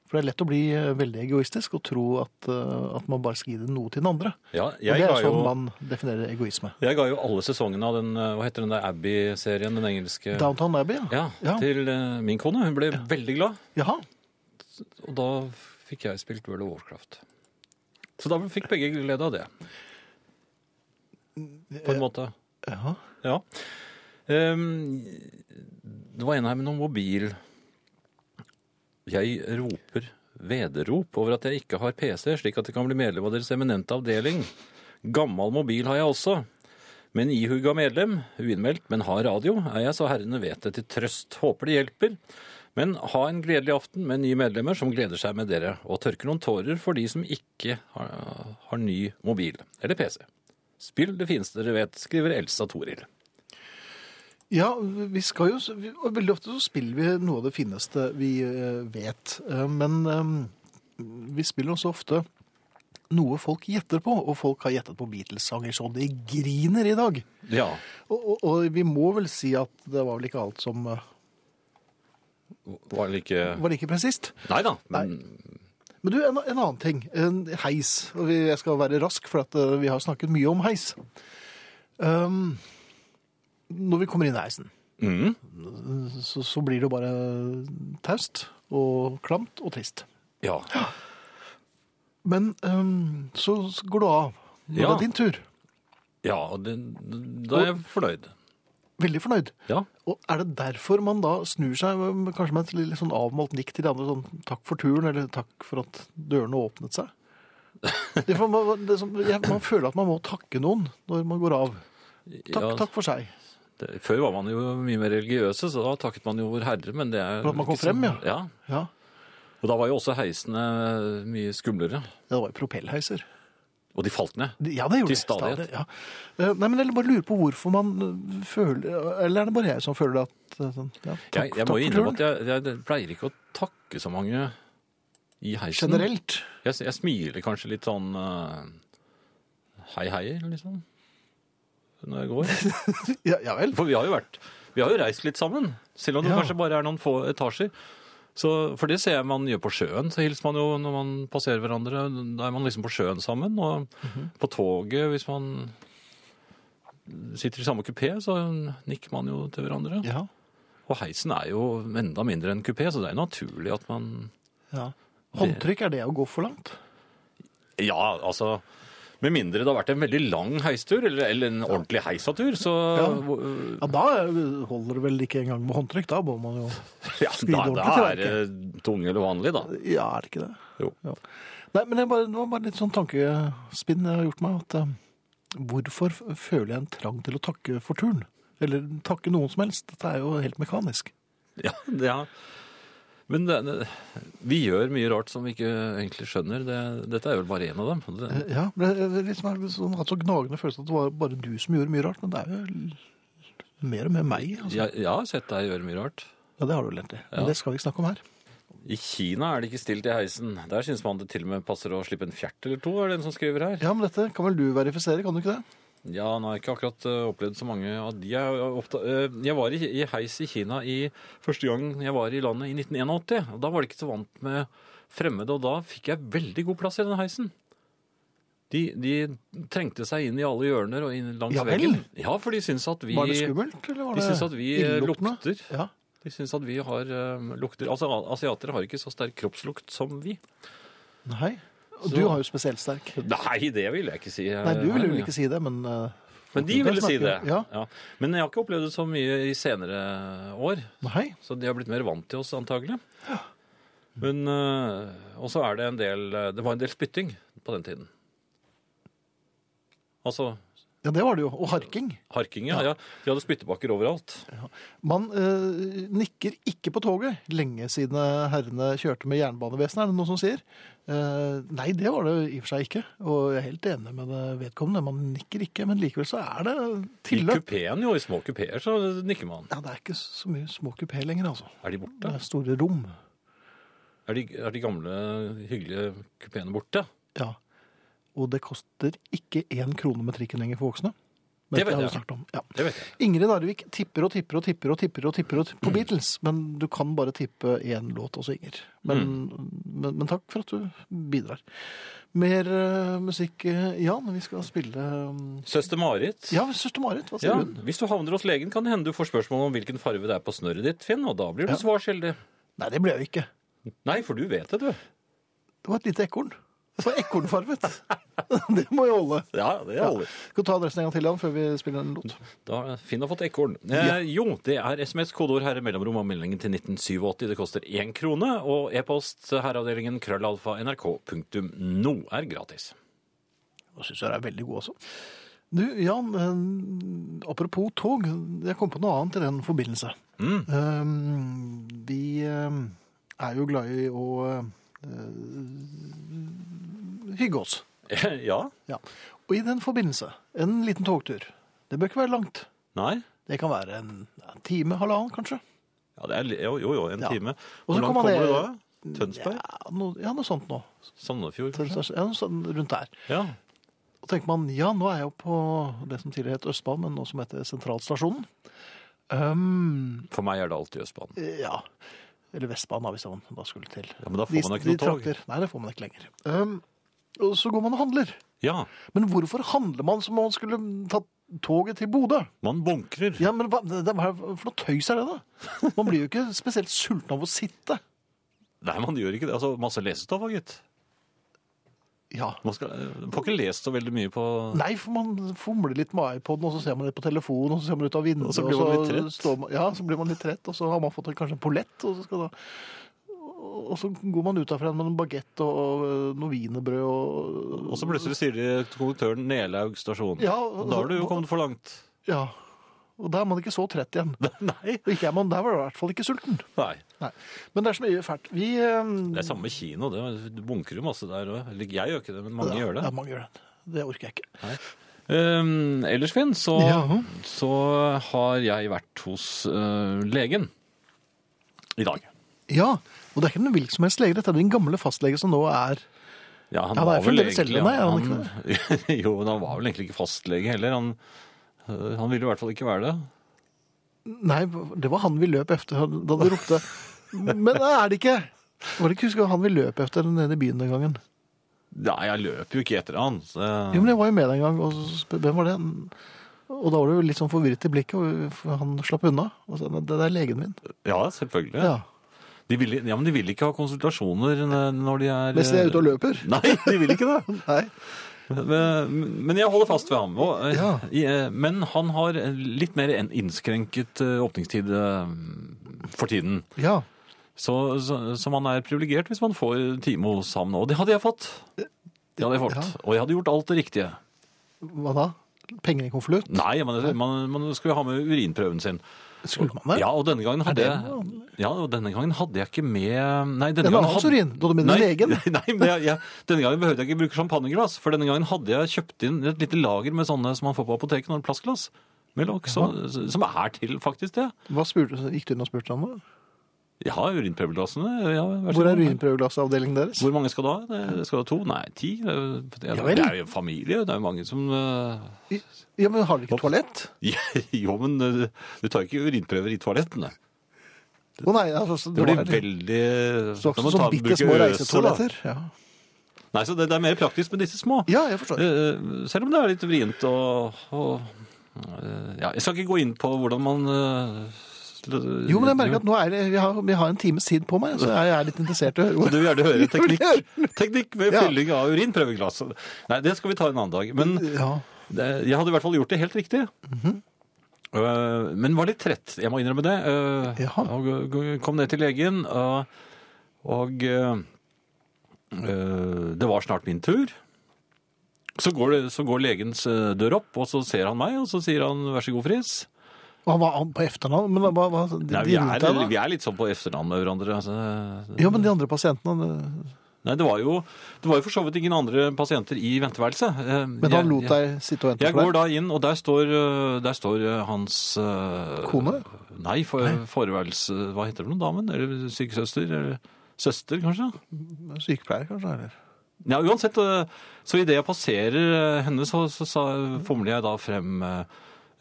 Speaker 1: For det er lett å bli eh, veldig egoistisk og tro at, eh, at man bare skal gi det noe til den andre.
Speaker 2: Ja,
Speaker 1: Og
Speaker 2: jeg,
Speaker 1: det
Speaker 2: ga
Speaker 1: er sånn
Speaker 2: jo,
Speaker 1: man definerer egoisme.
Speaker 2: jeg ga jo alle sesongene av den eh, hva heter den der Abbey-serien, den engelske
Speaker 1: Downtown Abbey, ja.
Speaker 2: ja, til eh, min kone. Hun ble veldig glad,
Speaker 1: Jaha.
Speaker 2: og da fikk jeg spilt World of Warcraft. Så da fikk begge glede av det. På en måte.
Speaker 1: Jaha.
Speaker 2: Ja. Ehm, det var en her med noen mobil. Jeg roper vederop over at jeg ikke har PC, slik at jeg kan bli medlem av deres eminente avdeling. Gammel mobil har jeg også. Men ihuga medlem, uinnmeldt, men har radio, er jeg så herrene vet det til trøst. Håper det hjelper. Men ha en gledelig aften med nye medlemmer som gleder seg med dere, og tørker noen tårer for de som ikke har, har ny mobil eller PC. Spill det fineste dere vet, skriver Elsa Toril.
Speaker 1: Ja, vi skal jo, vi- og veldig ofte så spiller vi noe av det fineste vi eh, vet. Eh, Men eh, vi spiller også ofte noe folk gjetter på, og folk har gjettet på Beatles-sanger, så det griner i dag.
Speaker 2: Ja.
Speaker 1: Og, og, og vi må vel si at det var vel ikke alt som eh,
Speaker 2: Var det ikke
Speaker 1: var like presist.
Speaker 2: Nei da. Men
Speaker 1: Men du, en, en annen ting. En heis. Og vi, jeg skal være rask, for at, eh, vi har snakket mye om heis. Um, når vi kommer inn i heisen,
Speaker 2: mm,
Speaker 1: så, så blir det jo bare taust. og klamt og trist.
Speaker 2: Ja.
Speaker 1: Men øhm, så går du av. Nå
Speaker 2: Ja.
Speaker 1: er det din tur.
Speaker 2: ja og det, da er jeg fornøyd.
Speaker 1: Veldig fornøyd.
Speaker 2: Ja.
Speaker 1: Og er det derfor man da snur seg øhm, kanskje med et litt sånn avmålt nikk til de andre, sånn takk for turen, eller takk for at dørene åpnet seg? Det er for man, det er som, jeg, man føler at man må takke noen når man går av. Takk,
Speaker 2: ja,
Speaker 1: takk for seg.
Speaker 2: det- Før var man jo mye mer religiøse, så da takket man jo Vår Herre, men det er
Speaker 1: For at man kom
Speaker 2: ikke så-
Speaker 1: frem, ja.
Speaker 2: ja.
Speaker 1: Ja,
Speaker 2: Og da var jo også heisene mye skumlere.
Speaker 1: det var jo propellheiser.
Speaker 2: Og de falt ned.
Speaker 1: Ja, det gjorde det.
Speaker 2: Til stadighet.
Speaker 1: ja. Eh, Nei, men jeg bare lurer på hvorfor man eh, føler Eller er det bare jeg som føler at eh, sånn, ja, takk,
Speaker 2: Jeg, jeg må jo innrømme at jeg, jeg pleier ikke å takke så mange i heisen.
Speaker 1: Generelt.
Speaker 2: Jeg, jeg smiler kanskje litt sånn eh, hei hei, liksom. Når jeg går.
Speaker 1: Ja, ja vel.
Speaker 2: For vi har jo vært Vi har jo reist litt sammen. Selv om det
Speaker 1: Ja.
Speaker 2: kanskje bare er noen få etasjer. Så, for det ser jeg man gjør på sjøen. Så hilser man jo når man passerer hverandre. Da er man liksom på sjøen sammen. Og
Speaker 1: Mhm.
Speaker 2: på toget, hvis man sitter i samme kupé, så nikker man jo til hverandre.
Speaker 1: Ja,
Speaker 2: Og heisen er jo enda mindre enn kupé, så det er jo naturlig at man
Speaker 1: ja. Håndtrykk, er det å gå for langt?
Speaker 2: Ja, altså Med mindre det har vært en veldig lang heistur, eller, eller en ordentlig heisatur, så
Speaker 1: Ja, Da eh, holder det vel ikke engang med håndtrykk. Da må man jo
Speaker 2: ja,
Speaker 1: skride
Speaker 2: da, da
Speaker 1: ordentlig
Speaker 2: er det tunge eller vanlig, da.
Speaker 1: Ja, er det ikke det?
Speaker 2: Jo.
Speaker 1: Ja. Nei, men jeg bare, det var bare litt sånn tankespinn jeg har gjort meg. At eh, hvorfor føler jeg en trang til å takke for turen? Eller takke noen som helst? Dette er jo helt mekanisk.
Speaker 2: Ja, det er- Men det, det, vi gjør mye rart som vi ikke egentlig skjønner. Det, dette er vel bare én av dem. Det,
Speaker 1: Ja, men jeg- jeg liksom har sånn, hatt så gnagende følelse at det var bare du som gjorde mye rart, men det er jo l- mer med meg. Altså.
Speaker 2: jeg, jeg har sett deg gjøre mye rart.
Speaker 1: Ja, det har du vel egentlig. Men
Speaker 2: Ja.
Speaker 1: det skal vi ikke snakke om her.
Speaker 2: I Kina er det ikke stilt i heisen. Der syns man det til og med passer å slippe en fjert eller to, er det en som skriver her.
Speaker 1: Ja, men dette kan vel du verifisere, kan du ikke det?
Speaker 2: Ja, nå har jeg ikke akkurat eh, opplevd så mange av de. Jeg, er oppta- eh, jeg var i, i heis i Kina i, første gang jeg var i landet i 1981. og Da var de ikke så vant med fremmede, og da fikk jeg veldig god plass i den heisen. De, de trengte seg inn i alle hjørner og inn langs
Speaker 1: Ja vel?
Speaker 2: veggen. Ja, for de syns at vi
Speaker 1: Var det skummelt, eller var
Speaker 2: De
Speaker 1: det
Speaker 2: syns at vi eh,
Speaker 1: illeluktende?
Speaker 2: lukter.
Speaker 1: Ja.
Speaker 2: De syns at vi har eh, lukter Altså, asiatere har ikke så sterk kroppslukt som vi.
Speaker 1: Nei. Og
Speaker 2: Så- Eh,
Speaker 1: du har jo spesielt sterk.
Speaker 2: Nei, det vil jeg ikke si.
Speaker 1: Nei, du ville vel ikke si det, men eh,
Speaker 2: Men de ville si det.
Speaker 1: Ja.
Speaker 2: Ja. Men jeg har ikke opplevd det så mye i senere år,
Speaker 1: Nei.
Speaker 2: så de har blitt mer vant til oss antagelig. Men øh, Og så er det en del eh, Det var en del spytting på den tiden. Altså
Speaker 1: Ja, det var det jo. Og harking.
Speaker 2: harking, ja. ja. De hadde spyttebakker overalt.
Speaker 1: Man eh, nikker ikke på toget. Lenge siden herrene kjørte med jernbanevesenet, er det noen som sier. Eh, nei, det var det i og for seg ikke. Og jeg er helt enig med det vedkommende. Man nikker ikke, men likevel så er det
Speaker 2: I
Speaker 1: tilløp.
Speaker 2: kupeen, jo. I små kupeer så nikker man.
Speaker 1: Ja, det er ikke så mye små kupé lenger, altså.
Speaker 2: Er de
Speaker 1: Det
Speaker 2: borte?
Speaker 1: er store rom.
Speaker 2: Er de, er de gamle, hyggelige kupeene borte?
Speaker 1: Ja. Og det koster ikke én krone med trikken lenger for voksne. Men
Speaker 2: Det vet
Speaker 1: har vi
Speaker 2: jeg.
Speaker 1: snakket om. Ja.
Speaker 2: Det vet jeg.
Speaker 1: Ingrid Narvik tipper og tipper og tipper og tipper og tipper og tipper på Beatles, men du kan bare tippe én låt også, Inger. Men, men, men takk for at du bidrar. Mer eh, musikk, eh, Jan. Vi skal spille eh,
Speaker 2: Søster Marit.
Speaker 1: Ja, søster Marit, hva sier
Speaker 2: Ja,
Speaker 1: hun?
Speaker 2: Hvis du havner hos legen, kan det hende du får spørsmål om hvilken farge det er på snøret ditt, Finn, og da blir du svar skyldig.
Speaker 1: Nei, det ble jeg ikke.
Speaker 2: Nei, for du vet det, du.
Speaker 1: Det var et lite ekorn. Det var ekornfarget. det må jo holde.
Speaker 2: Ja, det
Speaker 1: Ja. Skal du ta adressen en gang til, Jan, før vi spiller en låt?
Speaker 2: Da Finn har fått ekorn.
Speaker 1: Ja.
Speaker 2: Eh, jo, det er SMS, kodeord herre mellomrom og meldingen til 1987. Det koster én krone. Og e-post herreavdelingen krøllalfa nrk.no er gratis.
Speaker 1: Og syns jeg det er veldig god også. Du, Jan, eh, apropos tog. Jeg kom på noe annet i den forbindelse. Eh, vi eh, er jo glad i å eh, hygge oss.
Speaker 2: ja?
Speaker 1: Ja. Og i den forbindelse, en liten togtur. Det bør ikke være langt.
Speaker 2: Nei?
Speaker 1: Det kan være en ja, time, halvannen kanskje.
Speaker 2: Ja, det er, li- jo, jo, jo, en
Speaker 1: Ja.
Speaker 2: time.
Speaker 1: Og så
Speaker 2: Hvor langt
Speaker 1: kommer
Speaker 2: kommer
Speaker 1: det-
Speaker 2: du da? Tønsberg?
Speaker 1: Ja, noe, ja, noe sånt nå.
Speaker 2: Sandefjord?
Speaker 1: Ja,
Speaker 2: kanskje?
Speaker 1: noe sånt rundt der.
Speaker 2: Ja.
Speaker 1: Og tenker man, ja, nå er jeg jo på det som tidligere het Østbanen, men nå som heter Sentralstasjonen. Um,
Speaker 2: For meg er det alltid Østbanen.
Speaker 1: Ja. Eller Vestbanen, da, hvis man da skulle til.
Speaker 2: Ja, men da får
Speaker 1: De-
Speaker 2: man da
Speaker 1: de
Speaker 2: ikke noe tog.
Speaker 1: trakter- Nei, det får man ikke lenger. Um, og så går man og handler.
Speaker 2: Ja,
Speaker 1: Men hvorfor handler man som om man skulle tatt toget til Bodø?
Speaker 2: man bunkrer.
Speaker 1: Ja, men hva, det, det, hva for noe tøys er det, da? Man blir jo ikke spesielt sulten av å sitte.
Speaker 2: Nei, man gjør ikke det. Altså, masse lesestoff, gitt.
Speaker 1: Ja.
Speaker 2: Man skal, man får ikke lest så veldig mye på
Speaker 1: Nei, for man fomler litt med iPoden, og så ser man det på telefonen, og så ser man ut av vinduet,
Speaker 2: Og så blir man litt trett.
Speaker 1: står man, ja, så blir man litt trett, og så har man fått en- kanskje en pollett, og så skal da og så går man ut derfra med en bagett og, og øh, noe wienerbrød og
Speaker 2: Og så plutselig sier de til konduktøren Nelaug stasjon.
Speaker 1: Ja,
Speaker 2: og da har du jo kommet for langt.
Speaker 1: Ja. Og da er man ikke så trett igjen.
Speaker 2: Nei.
Speaker 1: Og ikke er man der, var man i hvert fall ikke sulten.
Speaker 2: Nei.
Speaker 1: Nei. Men det er så mye fælt. Vi eh, øhm,
Speaker 2: Det er samme kino, det. Du bunker jo masse der òg. Jeg gjør ikke det, men mange gjør det.
Speaker 1: Ja, mange gjør det. Det orker jeg ikke.
Speaker 2: Um, ellers, Finn, så,
Speaker 1: Ja.
Speaker 2: så har jeg vært hos eh, legen i dag.
Speaker 1: Ja, og det er ikke noen hvilken som helst lege. Dette er din gamle fastlege som nå er
Speaker 2: Ja, han
Speaker 1: Ja, det er
Speaker 2: var
Speaker 1: ikke
Speaker 2: vel
Speaker 1: dere
Speaker 2: egentlig
Speaker 1: selv, nei, er han
Speaker 2: Jo, men han var vel egentlig ikke fastlege heller. Han, eh, han ville i hvert fall ikke være det.
Speaker 1: Nei, det var han vi løp efter da du ropte. Men det er det ikke! Var det ikke husker, han vi løp efter nede i byen den gangen?
Speaker 2: Nei, jeg løp jo ikke etter han. Så,
Speaker 1: Jo, men jeg var jo med den gang, og så sp- hvem var det? Og da var du litt sånn forvirret i blikket, og han slapp unna. Og sa, det er legen min.
Speaker 2: ja, selvfølgelig.
Speaker 1: Ja.
Speaker 2: De vil, ja, men de vil ikke ha konsultasjoner n- når de er
Speaker 1: Mens jeg er ute og løper.
Speaker 2: Nei, de vil ikke det.
Speaker 1: Nei.
Speaker 2: Men, men jeg holder fast ved ham. Og, eh,
Speaker 1: Ja.
Speaker 2: i, eh, Men han har litt mer en innskrenket eh, åpningstid eh, for tiden.
Speaker 1: Ja.
Speaker 2: Så, så, så man er privilegert hvis man får time hos ham nå. Og det hadde jeg fått. Det hadde jeg fått.
Speaker 1: Ja.
Speaker 2: Og jeg hadde gjort alt det riktige.
Speaker 1: Hva da? Penger i konvolutt?
Speaker 2: Nei, man, man, man skulle ha med urinprøven sin.
Speaker 1: Skulle man det?
Speaker 2: Ja, og denne gangen hadde,
Speaker 1: det
Speaker 2: jeg- ja, og denne gangen hadde jeg ikke med Nei, denne
Speaker 1: En
Speaker 2: gangen
Speaker 1: annen
Speaker 2: hadde-
Speaker 1: urin? Du hadde med din
Speaker 2: Nei,
Speaker 1: egen?
Speaker 2: Nei, men jeg, jeg, denne gangen behøvde jeg ikke bruke champagneglass, for denne gangen hadde jeg kjøpt inn et lite lager med sånne som man får på apoteket når det er plastglass. Med lokk, så, som er til faktisk det.
Speaker 1: Hva spurte, gikk du inn og spurte han da?
Speaker 2: Jeg har urinprøveglassene. Ja, vær så
Speaker 1: Hvor er
Speaker 2: god.
Speaker 1: urinprøveglassavdelingen deres?
Speaker 2: Hvor mange skal du ha? Det- Skal du ha to? Nei, ti? Det er,
Speaker 1: Ja
Speaker 2: jo-
Speaker 1: vel.
Speaker 2: det er jo familie, det er jo mange som eh,
Speaker 1: Ja, men har dere ikke toalett?
Speaker 2: Jo, men eh, du tar ikke urinprøver i toalettene.
Speaker 1: Å nei, altså,
Speaker 2: Det blir
Speaker 1: var-
Speaker 2: veldig
Speaker 1: Så
Speaker 2: Da
Speaker 1: også
Speaker 2: må du ta-
Speaker 1: sånn bitte
Speaker 2: bruke
Speaker 1: små
Speaker 2: øse, da.
Speaker 1: reisetoaletter. Ja.
Speaker 2: Nei, så det, det er mer praktisk med disse små.
Speaker 1: ja, jeg forstår.
Speaker 2: Eh, Selv om det er litt vrient og, og eh, Ja, jeg skal ikke gå inn på hvordan man eh,
Speaker 1: Jo, men jeg merker at nå er det, vi, har, vi har en times tid på meg, så jeg er litt interessert i å høre
Speaker 2: Du
Speaker 1: hvor
Speaker 2: vil gjerne høre
Speaker 1: Jeg
Speaker 2: teknikk, teknikk ved
Speaker 1: Ja.
Speaker 2: fylling av urinprøveglass. Nei, det skal vi ta en annen dag. Men
Speaker 1: ja.
Speaker 2: det, jeg hadde i hvert fall gjort det helt riktig.
Speaker 1: Mhm.
Speaker 2: Eh, Men var litt trett, jeg må innrømme det. Eh,
Speaker 1: Jaha.
Speaker 2: Og g- g- kom ned til legen, og, og eh, eh, det var snart min tur. Så går, det, så går legens eh, dør opp, og så ser han meg, og så sier han 'vær så god, Friis'.
Speaker 1: Og Han var an på etternavn, men hva, hva de,
Speaker 2: Nei, vi
Speaker 1: de rundt deg
Speaker 2: er,
Speaker 1: da?
Speaker 2: vi er litt sånn på efternavn med hverandre. Altså.
Speaker 1: Jo, men de andre pasientene eh,
Speaker 2: Nei, det var, jo, det var jo for så vidt ingen andre pasienter i venteværelset. Eh,
Speaker 1: Men
Speaker 2: jeg-
Speaker 1: han lot
Speaker 2: jeg-
Speaker 1: deg sitte og vente
Speaker 2: Jeg
Speaker 1: for
Speaker 2: går
Speaker 1: deg?
Speaker 2: da inn, og der står, øh, der står øh, hans øh,
Speaker 1: Kone?
Speaker 2: Nei, for, forværelse... Hva heter det for noe, damen? Eller sykesøster? Eller søster, kanskje?
Speaker 1: Sykepleier, kanskje? Eller?
Speaker 2: Ja, uansett. øh, Så idet jeg passerer øh, henne, så, så, så formler jeg da frem øh,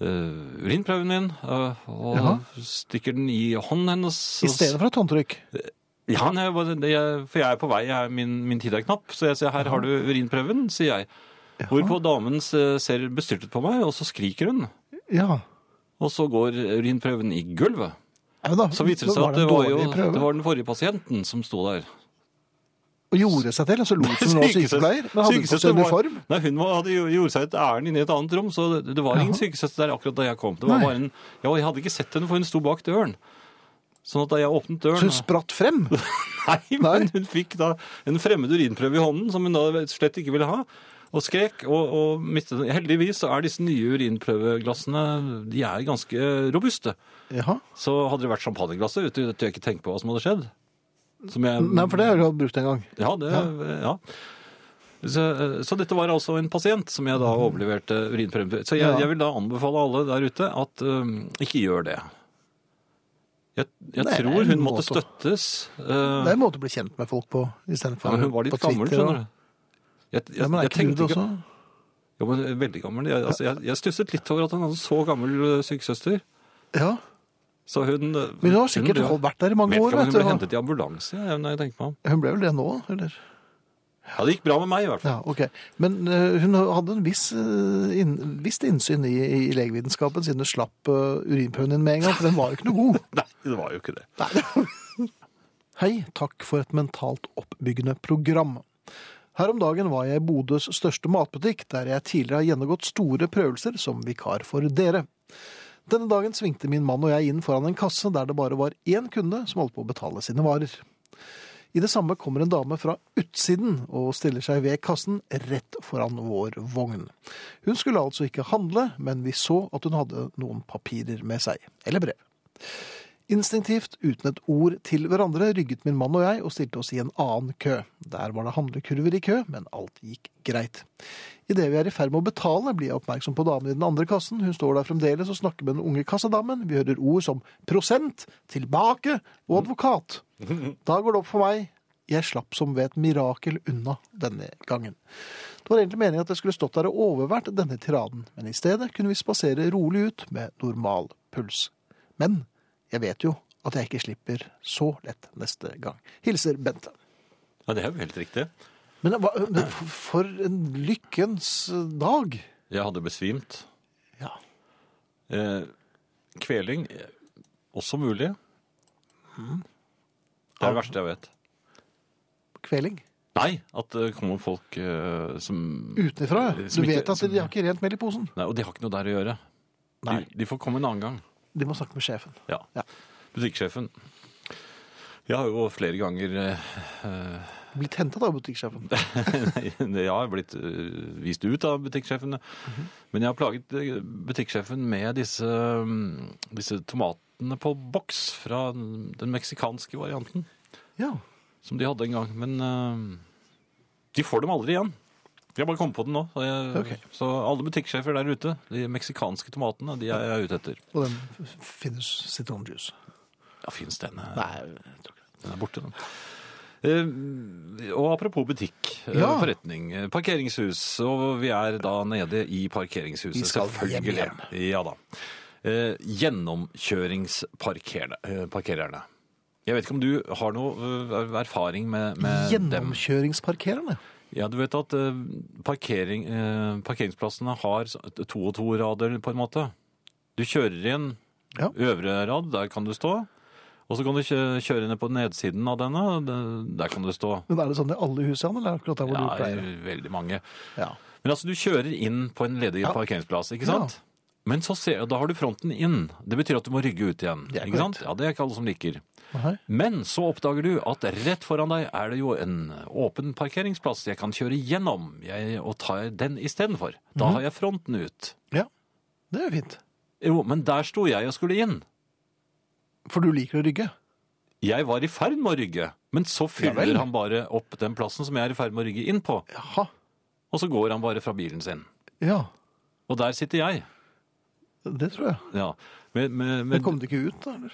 Speaker 2: øh, urinprøven min øh, og
Speaker 1: Jaha.
Speaker 2: stikker den i hånden hennes.
Speaker 1: I stedet for et håndtrykk?
Speaker 2: Ja, nei, jeg bare- det- jeg- for jeg er på vei, jeg, er- min, min tid er knapp, så jeg sier her har du urinprøven, sier jeg. Hvorpå damen se- ser bestyrtet på meg, og så skriker hun.
Speaker 1: Ja.
Speaker 2: Og så går urinprøven i gulvet.
Speaker 1: Ja, men da,
Speaker 2: Så viser det
Speaker 1: da
Speaker 2: seg at det
Speaker 1: en
Speaker 2: var, jo,
Speaker 1: dårlig prøve.
Speaker 2: det var den forrige pasienten som sto der.
Speaker 1: Og gjorde seg til, og så lot som hun var sykepleier. Men hadde hun på
Speaker 2: Sykesøster
Speaker 1: seg
Speaker 2: var-
Speaker 1: uniform?
Speaker 2: Nei, hun var, hadde jo- gjorde seg et ærend inne i et annet rom, så det, det var ingen sykesøster der akkurat da jeg kom. Det var
Speaker 1: Nei.
Speaker 2: bare en, ja, jeg hadde ikke sett henne, for hun sto bak døren. Sånn at da jeg åpnet
Speaker 1: Så
Speaker 2: døren
Speaker 1: hun spratt frem?
Speaker 2: Nei,
Speaker 1: Nei.
Speaker 2: men hun fikk da en fremmed urinprøve i hånden, som hun da slett ikke ville ha. Og skrek og, og mistet den. Heldigvis så er disse nye urinprøveglassene de er ganske robuste.
Speaker 1: Jaha.
Speaker 2: Så hadde det vært champagneglasset ute, vet du, jeg ikke tenkt på hva som hadde skjedd. Som jeg,
Speaker 1: Nei, for det har du hatt brukt en gang.
Speaker 2: Ja, det, ja. Så, så dette var altså en pasient som jeg da overleverte urinprøven til. Så jeg,
Speaker 1: Ja.
Speaker 2: jeg vil da anbefale alle der ute at um, ikke gjør det. Jeg,
Speaker 1: Nei,
Speaker 2: jeg
Speaker 1: det er
Speaker 2: tror
Speaker 1: en
Speaker 2: hun måtte
Speaker 1: måte å-
Speaker 2: støttes. øh,
Speaker 1: Det er en måte å bli kjent med folk på, istedenfor
Speaker 2: ja, men hun var litt gammel, skjønner du. Jeg, jeg,
Speaker 1: Ja, men er
Speaker 2: jeg
Speaker 1: ikke du
Speaker 2: tenkte
Speaker 1: det
Speaker 2: ikke...
Speaker 1: også?
Speaker 2: Jo, men veldig gammel. Jeg, altså, jeg, jeg stusset litt over at han hadde så gammel øh, sykesøster.
Speaker 1: Ja.
Speaker 2: Så hun... øh,
Speaker 1: Men hun har sikkert
Speaker 2: ble-
Speaker 1: vært der i mange
Speaker 2: Vet
Speaker 1: år.
Speaker 2: ikke om hun ble
Speaker 1: Vet du.
Speaker 2: hentet i ambulanse, jeg- når jeg tenker meg om.
Speaker 1: Hun ble vel det nå, eller?
Speaker 2: Ja, det gikk bra med meg i hvert fall.
Speaker 1: Ja, ok. Men eh, hun hadde en viss, eh, inn, visst innsyn i, i legevitenskapen, siden hun slapp eh, urinprøven din med en gang, for den var jo ikke noe god.
Speaker 2: Nei, det var jo ikke det.
Speaker 1: Hei, takk for et mentalt oppbyggende program. Her om dagen var jeg i Bodøs største matbutikk, der jeg tidligere har gjennomgått store prøvelser som vikar for dere. Denne dagen svingte min mann og jeg inn foran en kasse der det bare var én kunde som holdt på å betale sine varer. I det samme kommer en dame fra utsiden og stiller seg ved kassen rett foran vår vogn. Hun skulle altså ikke handle, men vi så at hun hadde noen papirer med seg. Eller brev. Instinktivt, uten et ord til hverandre, rygget min mann og jeg og stilte oss i en annen kø. Der var det handlekurver i kø, men alt gikk greit. Idet vi er i ferd med å betale, blir jeg oppmerksom på damen i den andre kassen. Hun står der fremdeles og snakker med den unge kassadamen. Vi hører ord som prosent, tilbake og advokat. Da går det opp for meg. Jeg slapp som ved et mirakel unna denne gangen. Det var egentlig meningen at jeg skulle stått der og overvært denne tiraden, men i stedet kunne vi spasere rolig ut med normal puls. Men jeg vet jo at jeg ikke slipper så lett neste gang. Hilser Bente.
Speaker 2: Ja, det er jo helt riktig.
Speaker 1: Men hva, men f- for en lykkens dag!
Speaker 2: Jeg hadde besvimt.
Speaker 1: Ja.
Speaker 2: Eh, kveling eh, også mulig.
Speaker 1: Mm.
Speaker 2: Det er det verste jeg vet.
Speaker 1: Kveling.
Speaker 2: Nei, at det kommer folk eh, som
Speaker 1: Utenfra, ja. Du
Speaker 2: Som ikke-
Speaker 1: vet at de har ikke rent mel i posen.
Speaker 2: Nei, Og de har ikke noe der å gjøre. De,
Speaker 1: Nei.
Speaker 2: de får komme en annen gang.
Speaker 1: De må snakke med sjefen.
Speaker 2: Ja.
Speaker 1: Ja.
Speaker 2: Butikksjefen. Jeg har jo flere ganger eh,
Speaker 1: Blitt hentet av butikksjefen.
Speaker 2: Nei, Jeg har blitt øh, vist ut av butikksjefen. Men jeg har plaget øh, butikksjefen med disse, øh, disse tomatene på boks fra den den meksikanske varianten.
Speaker 1: Ja.
Speaker 2: Som de hadde en gang. Men øh, de får dem aldri igjen. Jeg bare kom på den nå. Så, jeg,
Speaker 1: Ok.
Speaker 2: så alle butikksjefer der ute, de meksikanske tomatene, de er jeg ute etter.
Speaker 1: Og den f- finnes sitronjuice.
Speaker 2: Ja, fins den? eh?
Speaker 1: Nei, jeg tror ikke det.
Speaker 2: Den er borte, den. Eh, Og apropos butikk, eh,
Speaker 1: Ja.
Speaker 2: forretning, eh, parkeringshus. Og vi er da nede i parkeringshuset.
Speaker 1: Vi skal
Speaker 2: selvfølgelig.
Speaker 1: hjem
Speaker 2: Ja da. Eh, Gjennomkjøringsparkerende. eh, Parkererne. Jeg vet ikke om du har noe eh, erfaring med, med dem?
Speaker 1: Gjennomkjøringsparkerende.
Speaker 2: Ja, du vet at eh, parkering, eh, parkeringsplassene har så- to og to rader, på en måte. Du kjører inn
Speaker 1: Ja.
Speaker 2: øvre rad, der kan du stå. Og så kan du kjø- kjøre ned på nedsiden av denne, og det- der kan du stå.
Speaker 1: Men er det sånn i alle hus, Jan, eller er det akkurat der hvor
Speaker 2: Ja,
Speaker 1: du pleier?
Speaker 2: veldig mange.
Speaker 1: Ja.
Speaker 2: Men altså, du kjører inn på en ledig
Speaker 1: Ja.
Speaker 2: parkeringsplass, ikke sant? Men så ser, da har du fronten inn. Det betyr at du må rygge ut igjen.
Speaker 1: Det er
Speaker 2: ikke sant?
Speaker 1: korrekt.
Speaker 2: Ja, det er ikke alle som liker.
Speaker 1: Nei.
Speaker 2: Men så oppdager du at rett foran deg er det jo en åpen parkeringsplass jeg kan kjøre gjennom jeg, og ta den istedenfor. Da har jeg fronten ut.
Speaker 1: Ja, det er jo fint.
Speaker 2: Jo, men der sto jeg og skulle inn.
Speaker 1: For du liker å rygge.
Speaker 2: Jeg var i ferd med å rygge, men så fyller
Speaker 1: vel.
Speaker 2: han bare opp den plassen som jeg er i ferd med å rygge inn på,
Speaker 1: Jaha.
Speaker 2: og så går han bare fra bilen sin.
Speaker 1: Ja,
Speaker 2: Og der sitter jeg.
Speaker 1: det tror jeg.
Speaker 2: Ja. Med, med,
Speaker 1: Men
Speaker 2: med,
Speaker 1: kom du ikke ut, da? eller?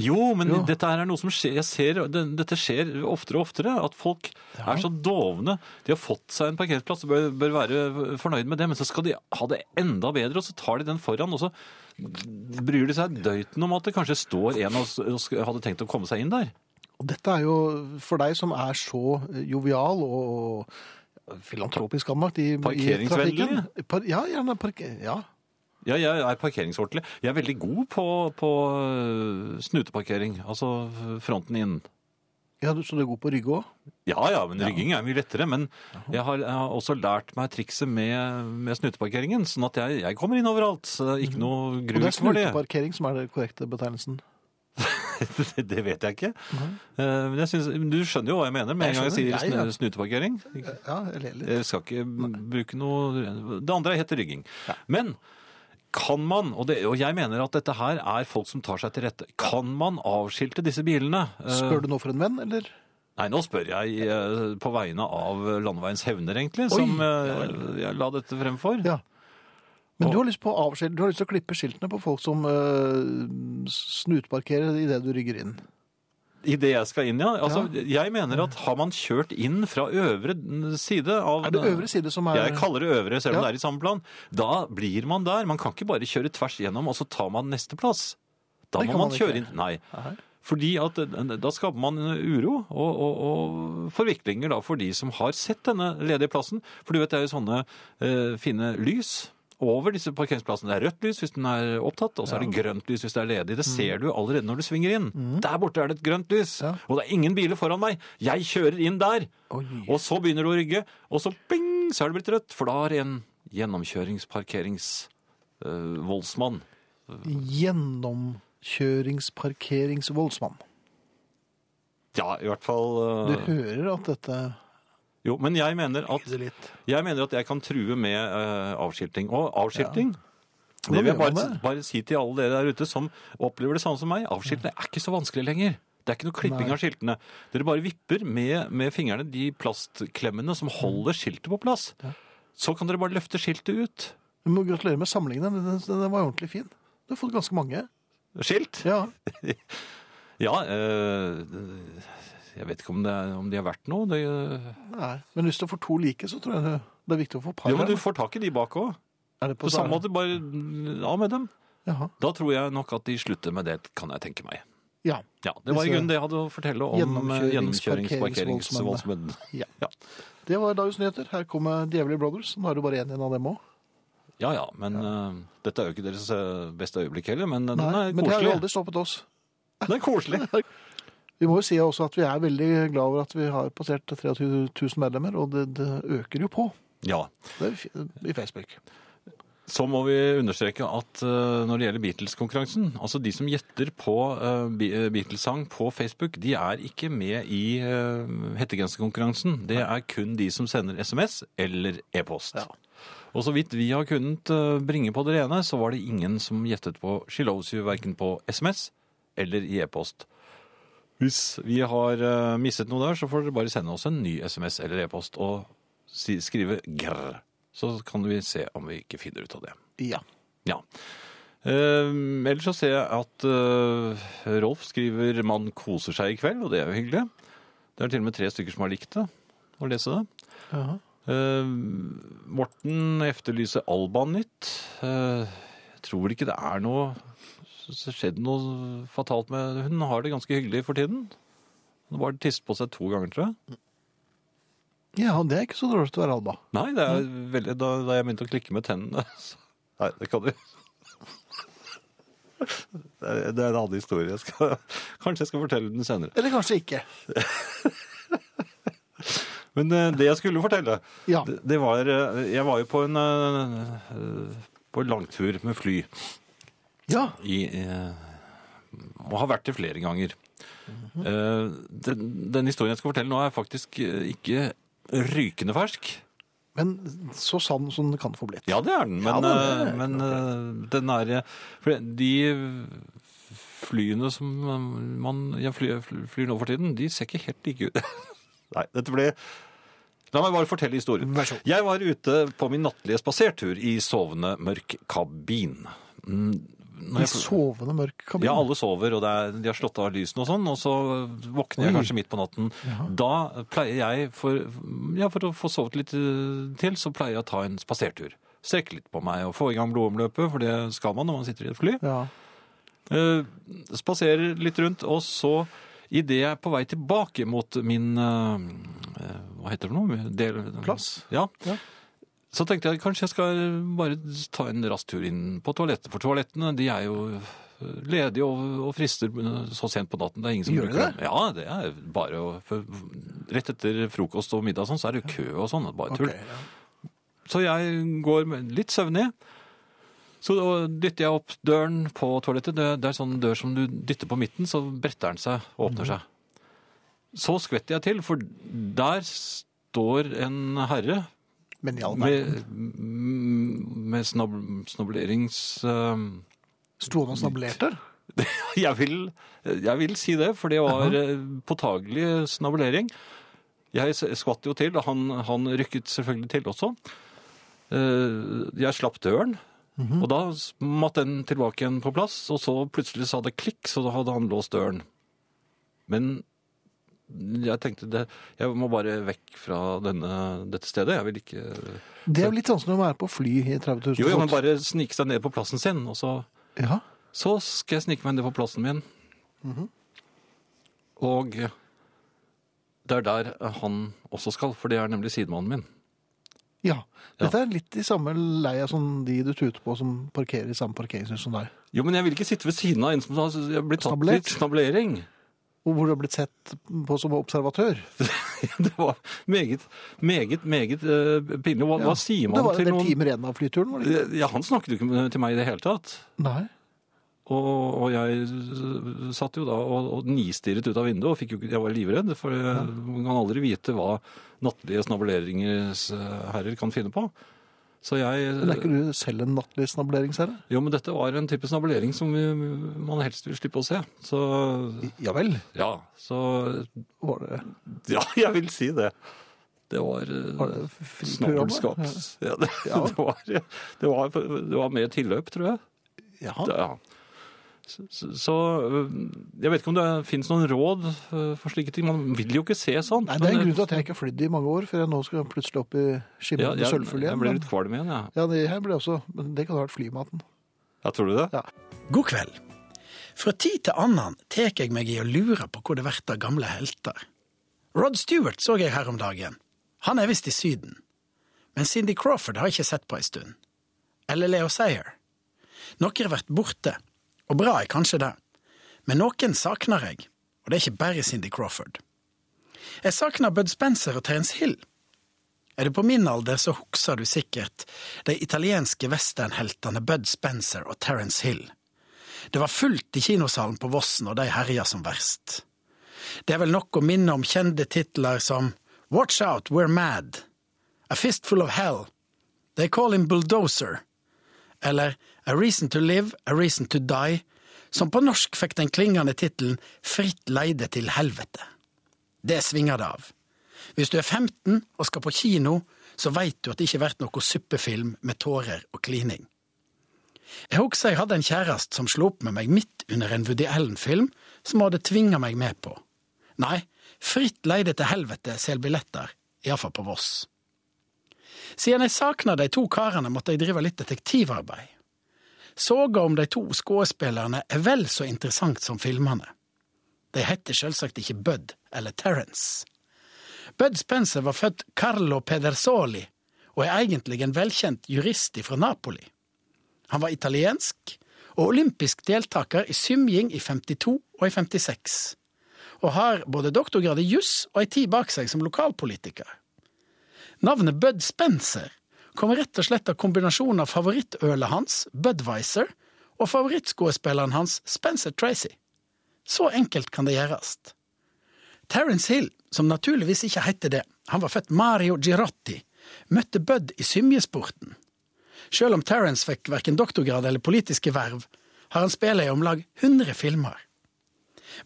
Speaker 2: jo, men
Speaker 1: Jo.
Speaker 2: dette her er noe som skjer. Jeg ser, det- dette skjer oftere og oftere, at folk er så dovne. De har fått seg en parkeringsplass og bør, bør være fornøyd med det, men så skal de ha det enda bedre, og så tar de den foran, og så bryr de seg døyten om at det kanskje står en og, s- og sk- hadde tenkt å komme seg inn der.
Speaker 1: Og dette er jo for deg som er så eh, jovial og filantropisk anlagt i, i
Speaker 2: Parkeringsvennlig.
Speaker 1: trafikken. Par, ja, gjerne parker... Ja.
Speaker 2: Ja, jeg er parkeringsordentlig. Jeg er veldig god på, på øh, snuteparkering, altså fronten inn.
Speaker 1: ja, du- så du er god på å rygge òg?
Speaker 2: Ja, ja, men rygging er mye lettere. Men jeg har, jeg har også lært meg trikset med, med snuteparkeringen, sånn at jeg, jeg kommer inn overalt. Så det er ikke noe
Speaker 1: Mhm. Og det
Speaker 2: grus
Speaker 1: er
Speaker 2: for det.
Speaker 1: snuteparkering som er den korrekte betegnelsen.
Speaker 2: det vet jeg ikke. Eh, Men jeg synes, men du skjønner jo hva jeg mener med
Speaker 1: Mhm. Jeg
Speaker 2: en gang jeg
Speaker 1: skjønler.
Speaker 2: sier
Speaker 1: Ja, ja.
Speaker 2: snu- snuteparkering.
Speaker 1: Ja, jeg ler litt.
Speaker 2: Jeg skal ikke bruke noe Det andre heter rygging. Men kan man, og, det, og jeg mener at dette her er folk som tar seg til rette, kan man avskilte disse bilene? Eh,
Speaker 1: Spør du nå for en venn, eller?
Speaker 2: Nei, nå spør jeg eh, på vegne av landeveiens hevner, egentlig, som eh, jeg la dette frem for.
Speaker 1: Ja. Men du har lyst på å avskil- du har lyst til å klippe skiltene på folk som eh, snutparkerer idet du rygger inn.
Speaker 2: I det jeg skal inn, ja. Altså, Jeg mener at har man kjørt inn fra øvre side av
Speaker 1: Er det øvre side som er
Speaker 2: Jeg kaller det øvre, selv om
Speaker 1: Ja.
Speaker 2: det er i samme plan. Da blir man der. Man kan ikke bare kjøre tvers gjennom, og så tar man neste plass. Da
Speaker 1: Det
Speaker 2: må
Speaker 1: kan
Speaker 2: man
Speaker 1: man
Speaker 2: kjøre
Speaker 1: ikke.
Speaker 2: inn Nei. Fordi at eh, da skaper man uro og, og, og forviklinger da for de som har sett denne ledige plassen. For du vet, det er jo sånne eh, fine lys over disse parkeringsplassene. Det er rødt lys hvis den er opptatt, og så er det grønt lys hvis det er ledig.
Speaker 1: Mm.
Speaker 2: Det ser du allerede når du svinger inn. Der borte er det et grønt lys,
Speaker 1: Ja.
Speaker 2: og det er ingen biler foran meg. Jeg kjører inn der, og så begynner du å rygge, og så bing, så er det blitt rødt, for da har en eh, gjennomkjøringsparkeringsvoldsmann
Speaker 1: Gjennomkjøringsparkeringsvoldsmann.
Speaker 2: Ja, i hvert fall
Speaker 1: Du
Speaker 2: eh,
Speaker 1: hører at dette
Speaker 2: Jo, men jeg mener at
Speaker 1: lyder litt
Speaker 2: Jeg mener at jeg kan true med eh, avskilting. Og avskilting Det
Speaker 1: Hvordan
Speaker 2: vil jeg
Speaker 1: gjør man
Speaker 2: bare,
Speaker 1: det?
Speaker 2: bare si til alle dere der ute som opplever det samme som meg. Avskiltene er ikke så vanskelig lenger. Det er ikke noe klipping av skiltene. Dere bare vipper med, med fingrene de plastklemmene som holder skiltet på plass. Så kan dere bare løfte skiltet ut.
Speaker 1: Du må gratulere med samlingen. Den, den, den var ordentlig fin. Du har fått ganske mange.
Speaker 2: Skilt?
Speaker 1: Ja.
Speaker 2: Ja, eh, jeg vet ikke om, det er, om de er verdt noe. Det, eh,
Speaker 1: Nei. Men hvis du får to like, så tror jeg det, det er viktig å få par.
Speaker 2: jo, men
Speaker 1: her.
Speaker 2: du får tak i de bak òg.
Speaker 1: er det
Speaker 2: På samme måte, bare av med dem.
Speaker 1: Jaha.
Speaker 2: Da tror jeg nok at de slutter med det, kan jeg tenke meg.
Speaker 1: Ja.
Speaker 2: Ja, Det var i
Speaker 1: Disse
Speaker 2: grunnen det jeg hadde å fortelle om eh,
Speaker 1: gjennomkjørings-
Speaker 2: gjennomkjøringsparkeringsvoldsmenn.
Speaker 1: Ja.
Speaker 2: Ja.
Speaker 1: Det var dagens nyheter. Her kommer Djevelig Brothers. Nå er det bare én igjen av dem òg.
Speaker 2: Ja ja, men eh, dette er jo ikke deres eh, beste øyeblikk heller, men eh, den er
Speaker 1: Men det har jo
Speaker 2: koselig.
Speaker 1: aldri stoppet oss.
Speaker 2: Den er koselig.
Speaker 1: Vi må jo si også at vi er veldig glad over at vi har passert 23 000 medlemmer, og det, det øker jo på
Speaker 2: Ja.
Speaker 1: det er fi- i Facebook.
Speaker 2: Så må vi understreke at eh, når det gjelder Beatles-konkurransen, altså de som gjetter på eh, Be- eh, Beatles-sang på Facebook, de er ikke med i eh, hettegenserkonkurransen. Det er kun de som sender SMS eller e-post. Og så vidt vi har kunnet eh, bringe på det rene, så var det ingen som gjettet på She Loves You verken på SMS eller i e-post. Hvis vi har eh, mistet noe der, så får dere bare sende oss en ny SMS eller e-post og si, skrive grr. Så kan vi se om vi ikke finner ut av det.
Speaker 1: Ja.
Speaker 2: Ja. Eh, ellers så ser jeg at eh, Rolf skriver 'man koser seg i kveld', og det er jo hyggelig. Det er til og med tre stykker som har likt det, å lese det.
Speaker 1: Jaha.
Speaker 2: Eh, Morten efterlyser Alba-nytt. Eh, jeg tror ikke det er noe så skjedde noe fatalt med Hun har det ganske hyggelig for tiden. Hun bare tisset på seg to ganger, tror jeg.
Speaker 1: ja, det er ikke så dårlig å være Alba.
Speaker 2: Nei, det er veldig, da, da jeg begynte å klikke med tennene så- Nei, det kan du Det er, det er en annen historie. Jeg skal, kanskje jeg skal fortelle den senere.
Speaker 1: Eller kanskje ikke.
Speaker 2: Men eh, det jeg skulle fortelle,
Speaker 1: Ja.
Speaker 2: det, det var eh, Jeg var jo på en eh, eh, på en langtur med fly.
Speaker 1: Ja.
Speaker 2: i, eh, og har vært det flere ganger. Eh, den, den historien jeg skal fortelle nå er faktisk eh, ikke rykende fersk.
Speaker 1: Men så sann som det kan få blitt.
Speaker 2: Ja, det er den,
Speaker 1: Ja,
Speaker 2: men,
Speaker 1: da, det er
Speaker 2: eh, men eh, den er eh, for De flyene som eh, man jeg flyr, flyr nå for tiden, de ser ikke helt like ut. Nei, dette ble La meg bare fortelle historien.
Speaker 1: Vær så god.
Speaker 2: Jeg var ute på min nattlige spasertur i sovende mørk kabin. Mm,
Speaker 1: I
Speaker 2: når jeg-
Speaker 1: sovende mørk kabin.
Speaker 2: Ja, alle sover, og det er, de har slått av lysene og sånn, og så våkner jeg
Speaker 1: Oi.
Speaker 2: kanskje midt på natten. Da pleier jeg, for, ja, for å få sovet litt eh, til, så pleier jeg å ta en spasertur. Strekke litt på meg og få i gang blodomløpet, for det skal man når man sitter i et fly.
Speaker 1: Ja.
Speaker 2: Eh, spaserer litt rundt, og så idet jeg er på vei tilbake mot min eh, eh, Hva heter det for noe? Del-
Speaker 1: Plass?
Speaker 2: Ja.
Speaker 1: Ja.
Speaker 2: Så tenkte jeg kanskje jeg skal bare ta en rask tur inn på toalettet. For toalettene de er jo eh, ledige og, og frister eh, så sent på natten. Det er ingen som
Speaker 1: Gjør de
Speaker 2: bruker
Speaker 1: det?
Speaker 2: dem. Ja, det er bare å for, Rett etter frokost og middag og sånn, så er det jo kø og sånn. Bare tull.
Speaker 1: Ok, ja.
Speaker 2: Så jeg går med- litt søvnig. Så da dytter jeg opp døren på toalettet. Det, det er sånn dør som du dytter på midten, så bretter den seg og åpner seg. Så skvetter jeg til, for der står en herre
Speaker 1: Men i all verden.
Speaker 2: med, med snob, snoblerings... eh,
Speaker 1: Sto han og snablerte?
Speaker 2: jeg, vil, jeg vil si det, for det var eh, påtagelig snabulering. Jeg s- skvatt jo til, og han, han rykket selvfølgelig til også. Eh, Jeg slapp døren, og da smatt den tilbake igjen på plass, og så plutselig sa det klikk, så da hadde han låst døren. Men jeg tenkte det, jeg må bare vekk fra denne, dette stedet. Jeg vil ikke
Speaker 1: Det er jo litt vanskelig å være på fly i 30 000
Speaker 2: Jo, jo, men
Speaker 1: fot.
Speaker 2: bare snike seg ned på plassen sin, og så
Speaker 1: Ja.
Speaker 2: så skal jeg snike meg ned på plassen min.
Speaker 1: Mhm.
Speaker 2: Og det er der han også skal, for det er nemlig sidemannen min.
Speaker 1: Ja. Dette er litt i samme leia som de du tuter på som parkerer i samme parkeringshus som deg.
Speaker 2: Jo, men jeg vil ikke sitte ved siden av en som har jeg blir tatt
Speaker 1: Snablert.
Speaker 2: i snablering.
Speaker 1: Og hvor du har blitt sett på som observatør.
Speaker 2: Det var meget, meget, meget eh, pinlig. Hva, hva sier
Speaker 1: det
Speaker 2: man
Speaker 1: var en
Speaker 2: til
Speaker 1: del
Speaker 2: noen
Speaker 1: timer igjen av flyturen. Var det?
Speaker 2: Ja, han snakket jo ikke med- til meg i det hele tatt.
Speaker 1: ikke? Nei.
Speaker 2: Og, og jeg s- satt jo da og, og nistirret ut av vinduet, og fikk jo, ikke- jeg var livredd, for jeg, man kan aldri vite hva nattlige snabeleringens eh, herrer kan finne på. Så jeg
Speaker 1: Men er ikke du selv en nattlig snableringsherre?
Speaker 2: Jo, men dette var en type snabelering som vi, man helst vil slippe å se. Så
Speaker 1: Ja vel.
Speaker 2: ja, så
Speaker 1: Var det,
Speaker 2: Ja, jeg vil si det. Det var, eh,
Speaker 1: var det fri
Speaker 2: snabelskap. Ja, det, det, var, det, var, det var mer tilløp, tror jeg.
Speaker 1: Ja.
Speaker 2: Det- Ja. Så, så- så øh, jeg vet ikke om det finnes noen råd øh, for slike ting. Man vil jo ikke se sånt.
Speaker 1: Nei, det er en
Speaker 2: men-
Speaker 1: grunn
Speaker 2: eh,
Speaker 1: til at jeg ikke har flydd i mange år, for jeg nå skal plutselig opp i
Speaker 2: ja,
Speaker 1: skimrende
Speaker 2: jeg,
Speaker 1: sølvfugl
Speaker 2: jeg
Speaker 1: igjen.
Speaker 2: ble
Speaker 1: men-
Speaker 2: litt kvalm igjen, jeg.
Speaker 1: Ja, det her ble jeg også, men det kan ha vært flymaten.
Speaker 2: Ja, tror du det?
Speaker 1: Ja.
Speaker 4: God kveld. Fra tid til annen tek jeg meg i å lure på hvor det blir av gamle helter. Rod Stewart så jeg her om dagen. Han er visst i Syden. Men Cindy Crawford har jeg ikke sett på ei stund. Eller Leo Sayer. Noen har vært borte, og bra er kanskje det. Men noen savner jeg, og det er ikke bare Cindy Crawford. Jeg savner Bud Spencer og Terence Hill. Er du på min alder, så husker du sikkert de italienske westernheltene Bud Spencer og Terence Hill. Det var fullt i kinosalen på Vossen, og de herja som verst. Det er vel nok å minne om kjente titler som Watch Out, We're Mad, A Fistful of Hell, They Call Him Bulldozer, eller A Reason to Live, A Reason to Die, som på norsk fikk den klingende tittelen Fritt leide til helvete. Det svinger det av. Hvis du er 15 og skal på kino, så veit du at det ikke blir noe suppefilm med tårer og klining. Jeg husker jeg hadde en kjæreste som slo opp med meg midt under en Woody Allen-film som hun hadde tvinga meg med på. Nei, fritt leide til helvete selger billetter, iallfall på Voss. Siden jeg savna de to karene, måtte jeg drive litt detektivarbeid. Soga om de to skuespillerne er vel så interessant som filmene. De heter selvsagt ikke Bud eller Terence. Bud Spencer var født Carlo Pedersoli, og er egentlig en velkjent jurist fra Napoli. Han var italiensk og olympisk deltaker i symjing i 52 og i 56. Og har både doktorgrad i juss og ei tid bak seg som lokalpolitiker. Navnet Bud Spencer kom rett og slett av kombinasjonen av favorittølet hans, Budwiser, og favorittskuespilleren hans, Spencer Tracy. Så enkelt kan det gjøres. Terence Hill, som naturligvis ikke heter det, han var født Mario Girotti, møtte Bud i symjesporten. Selv om Terence fikk verken doktorgrad eller politiske verv, har han spilt i om lag 100 filmer.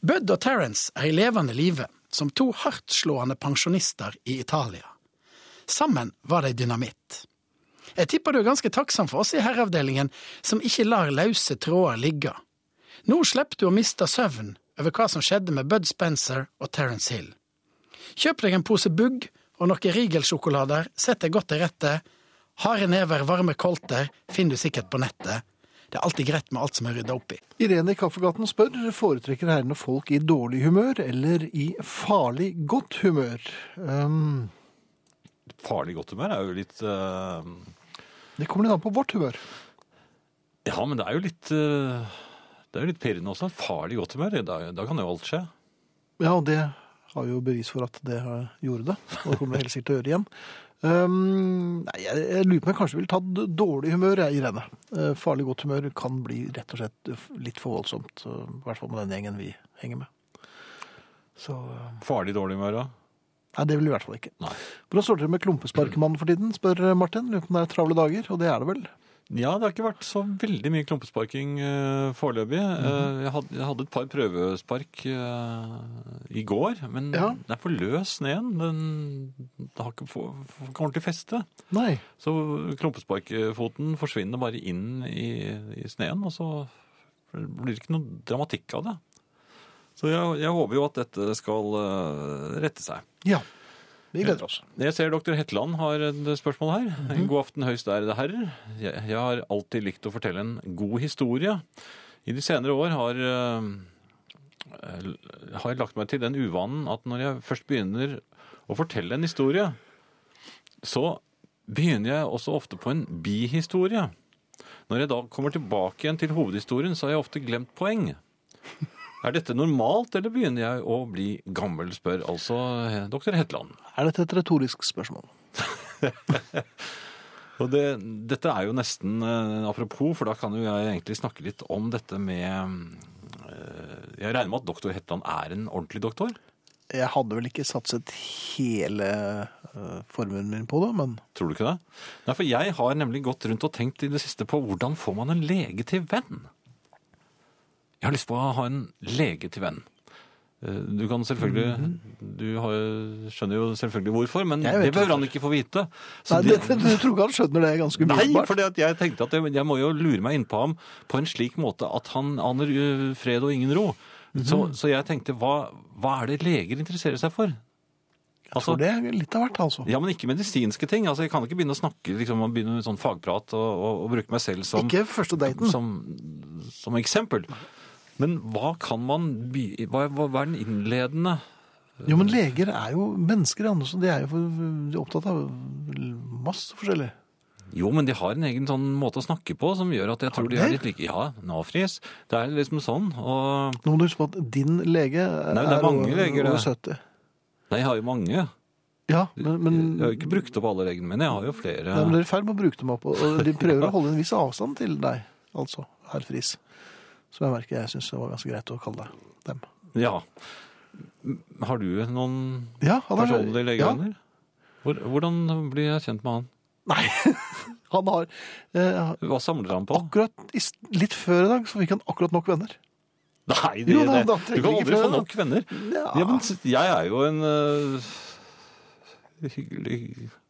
Speaker 4: Bud og Terence er i levende live som to hardtslående pensjonister i Italia. Sammen var de dynamitt. Jeg tipper du er ganske takksam for oss i herreavdelingen, som ikke lar løse tråder ligge. Nå slipper du å miste søvn over hva som skjedde med Bud Spencer og Terence Hill. Kjøp deg en pose bugg og noen Riegel-sjokolader, sett deg godt til rette. Harde never, varme kolter finner du sikkert på nettet. Det er alltid greit med alt som er rydda opp i.
Speaker 1: Irene i Kaffegaten spør, foretrekker herrene folk i dårlig humør eller i farlig godt humør? Ehm,
Speaker 2: Farlig godt humør er jo litt øh,
Speaker 1: det kommer litt an på vårt humør.
Speaker 2: Ja, men det er jo litt øh, Det er jo litt pirrende også. Farlig godt humør. Da, da kan jo alt skje.
Speaker 1: Ja, og det har jo bevis for at det har- gjorde det. Og det kommer det helt sikkert til å gjøre igjen. Ehm, nei, jeg, jeg lurer på om jeg kanskje vil ta d- dårlig humør, jeg, Irene. Eh, farlig godt humør kan bli rett og slett litt for voldsomt. eh, I hvert fall med den gjengen vi henger med. Så eh,
Speaker 2: Farlig dårlig humør òg.
Speaker 1: Nei, det vil vi i hvert fall ikke.
Speaker 2: Nei.
Speaker 1: Hvordan står det til med klumpesparkmannen for tiden, spør Martin. Lurer på om det er travle dager, og det er det vel?
Speaker 2: Ja, det har ikke vært så veldig mye klumpesparking eh, foreløpig. Eh, jeg, hadde, jeg hadde et par prøvespark eh, i går, men
Speaker 1: Ja.
Speaker 2: den er for løs sneen. Den den har ikke få- få- ikke ordentlig feste.
Speaker 1: Nei.
Speaker 2: Så klumpesparkfoten forsvinner bare inn i, i sneen, og så blir det ikke noe dramatikk av det. Så jeg, jeg håper jo at dette skal eh, rette seg.
Speaker 1: Ja. Vi gleder oss.
Speaker 2: Jeg ser doktor Hetland har et spørsmål her. God aften, høyst ærede herrer. Jeg, jeg har alltid likt å fortelle en god historie. I de senere år har, eh, l- har jeg lagt meg til den uvanen at når jeg først begynner å fortelle en historie, så begynner jeg også ofte på en bihistorie. Når jeg da kommer tilbake igjen til hovedhistorien, så har jeg ofte glemt poeng. Er dette normalt, eller begynner jeg å bli gammel, spør altså eh, doktor Hetland.
Speaker 1: Er dette et retorisk spørsmål?
Speaker 2: Og det, dette er jo nesten eh, apropos, for da kan jo jeg egentlig snakke litt om dette med eh, Jeg regner med at doktor Hetland er en ordentlig doktor?
Speaker 1: Jeg hadde vel ikke satset hele eh, formuen min på det, men
Speaker 2: Tror du ikke det? Nei, for jeg har nemlig gått rundt og tenkt i det siste på hvordan får man en lege til venn? Jeg har lyst på å ha en lege til venn. Eh, Du kan selvfølgelig Du har, jo- skjønner jo selvfølgelig hvorfor, men
Speaker 1: Mhm. Jeg vet
Speaker 2: det bør han ikke få vite. Så
Speaker 1: Nei,
Speaker 2: det-
Speaker 1: det, du tror ikke han skjønner det ganske mye?
Speaker 2: Nei, for jeg tenkte at jeg, jeg må jo lure meg innpå ham på en slik måte at han aner ø, fred og ingen ro.
Speaker 1: Mhm.
Speaker 2: så, så jeg tenkte, hva, hva er det leger interesserer seg for?
Speaker 1: Jeg tror det er litt av hvert, altså.
Speaker 2: Ja, men ikke medisinske ting. Altså, jeg kan ikke begynne å snakke liksom, og begynne med sånn fagprat og, og, og bruke meg selv som,
Speaker 1: Ikke første daten.
Speaker 2: som, som eksempel. Men hva kan man by- hva, hva, hva er den innledende
Speaker 1: Jo, men leger er jo mennesker, Andersen. De er jo for, de er opptatt av masse forskjellig.
Speaker 2: Jo, men de har en egen sånn måte å snakke på som gjør at jeg tror de er
Speaker 1: det?
Speaker 2: litt like Ja, Nafris. Det er liksom sånn. Og
Speaker 1: Nå må du huske på at din lege er,
Speaker 2: Nei, men det er mange
Speaker 1: over,
Speaker 2: leger, det.
Speaker 1: over 70.
Speaker 2: Nei, jeg har jo mange.
Speaker 1: Ja, men, men,
Speaker 2: Jeg har jo ikke brukt opp alle reglene mine. Jeg har jo flere.
Speaker 1: nei, men dere er i ferd med å bruke dem opp. Og de prøver å holde en viss avstand til deg, altså, herr Friis. Som jeg merker jeg syns det var ganske greit å kalle deg dem.
Speaker 2: Ja. Har du noen
Speaker 1: Ja, han er-
Speaker 2: personlige
Speaker 1: Ja,
Speaker 2: legevenner? Hvor, hvordan blir jeg kjent med han?
Speaker 1: han har eh,
Speaker 2: Hva samler han på?
Speaker 1: akkurat i s- Litt før i dag så fikk han akkurat nok venner.
Speaker 2: Nei, det,
Speaker 1: Jo, da-
Speaker 2: det.
Speaker 1: da trenger
Speaker 2: du kan
Speaker 1: vi ikke
Speaker 2: aldri få
Speaker 1: flere, da.
Speaker 2: nok venner. Ja. men s- jeg er jo en øh, hyggelig, hyggelig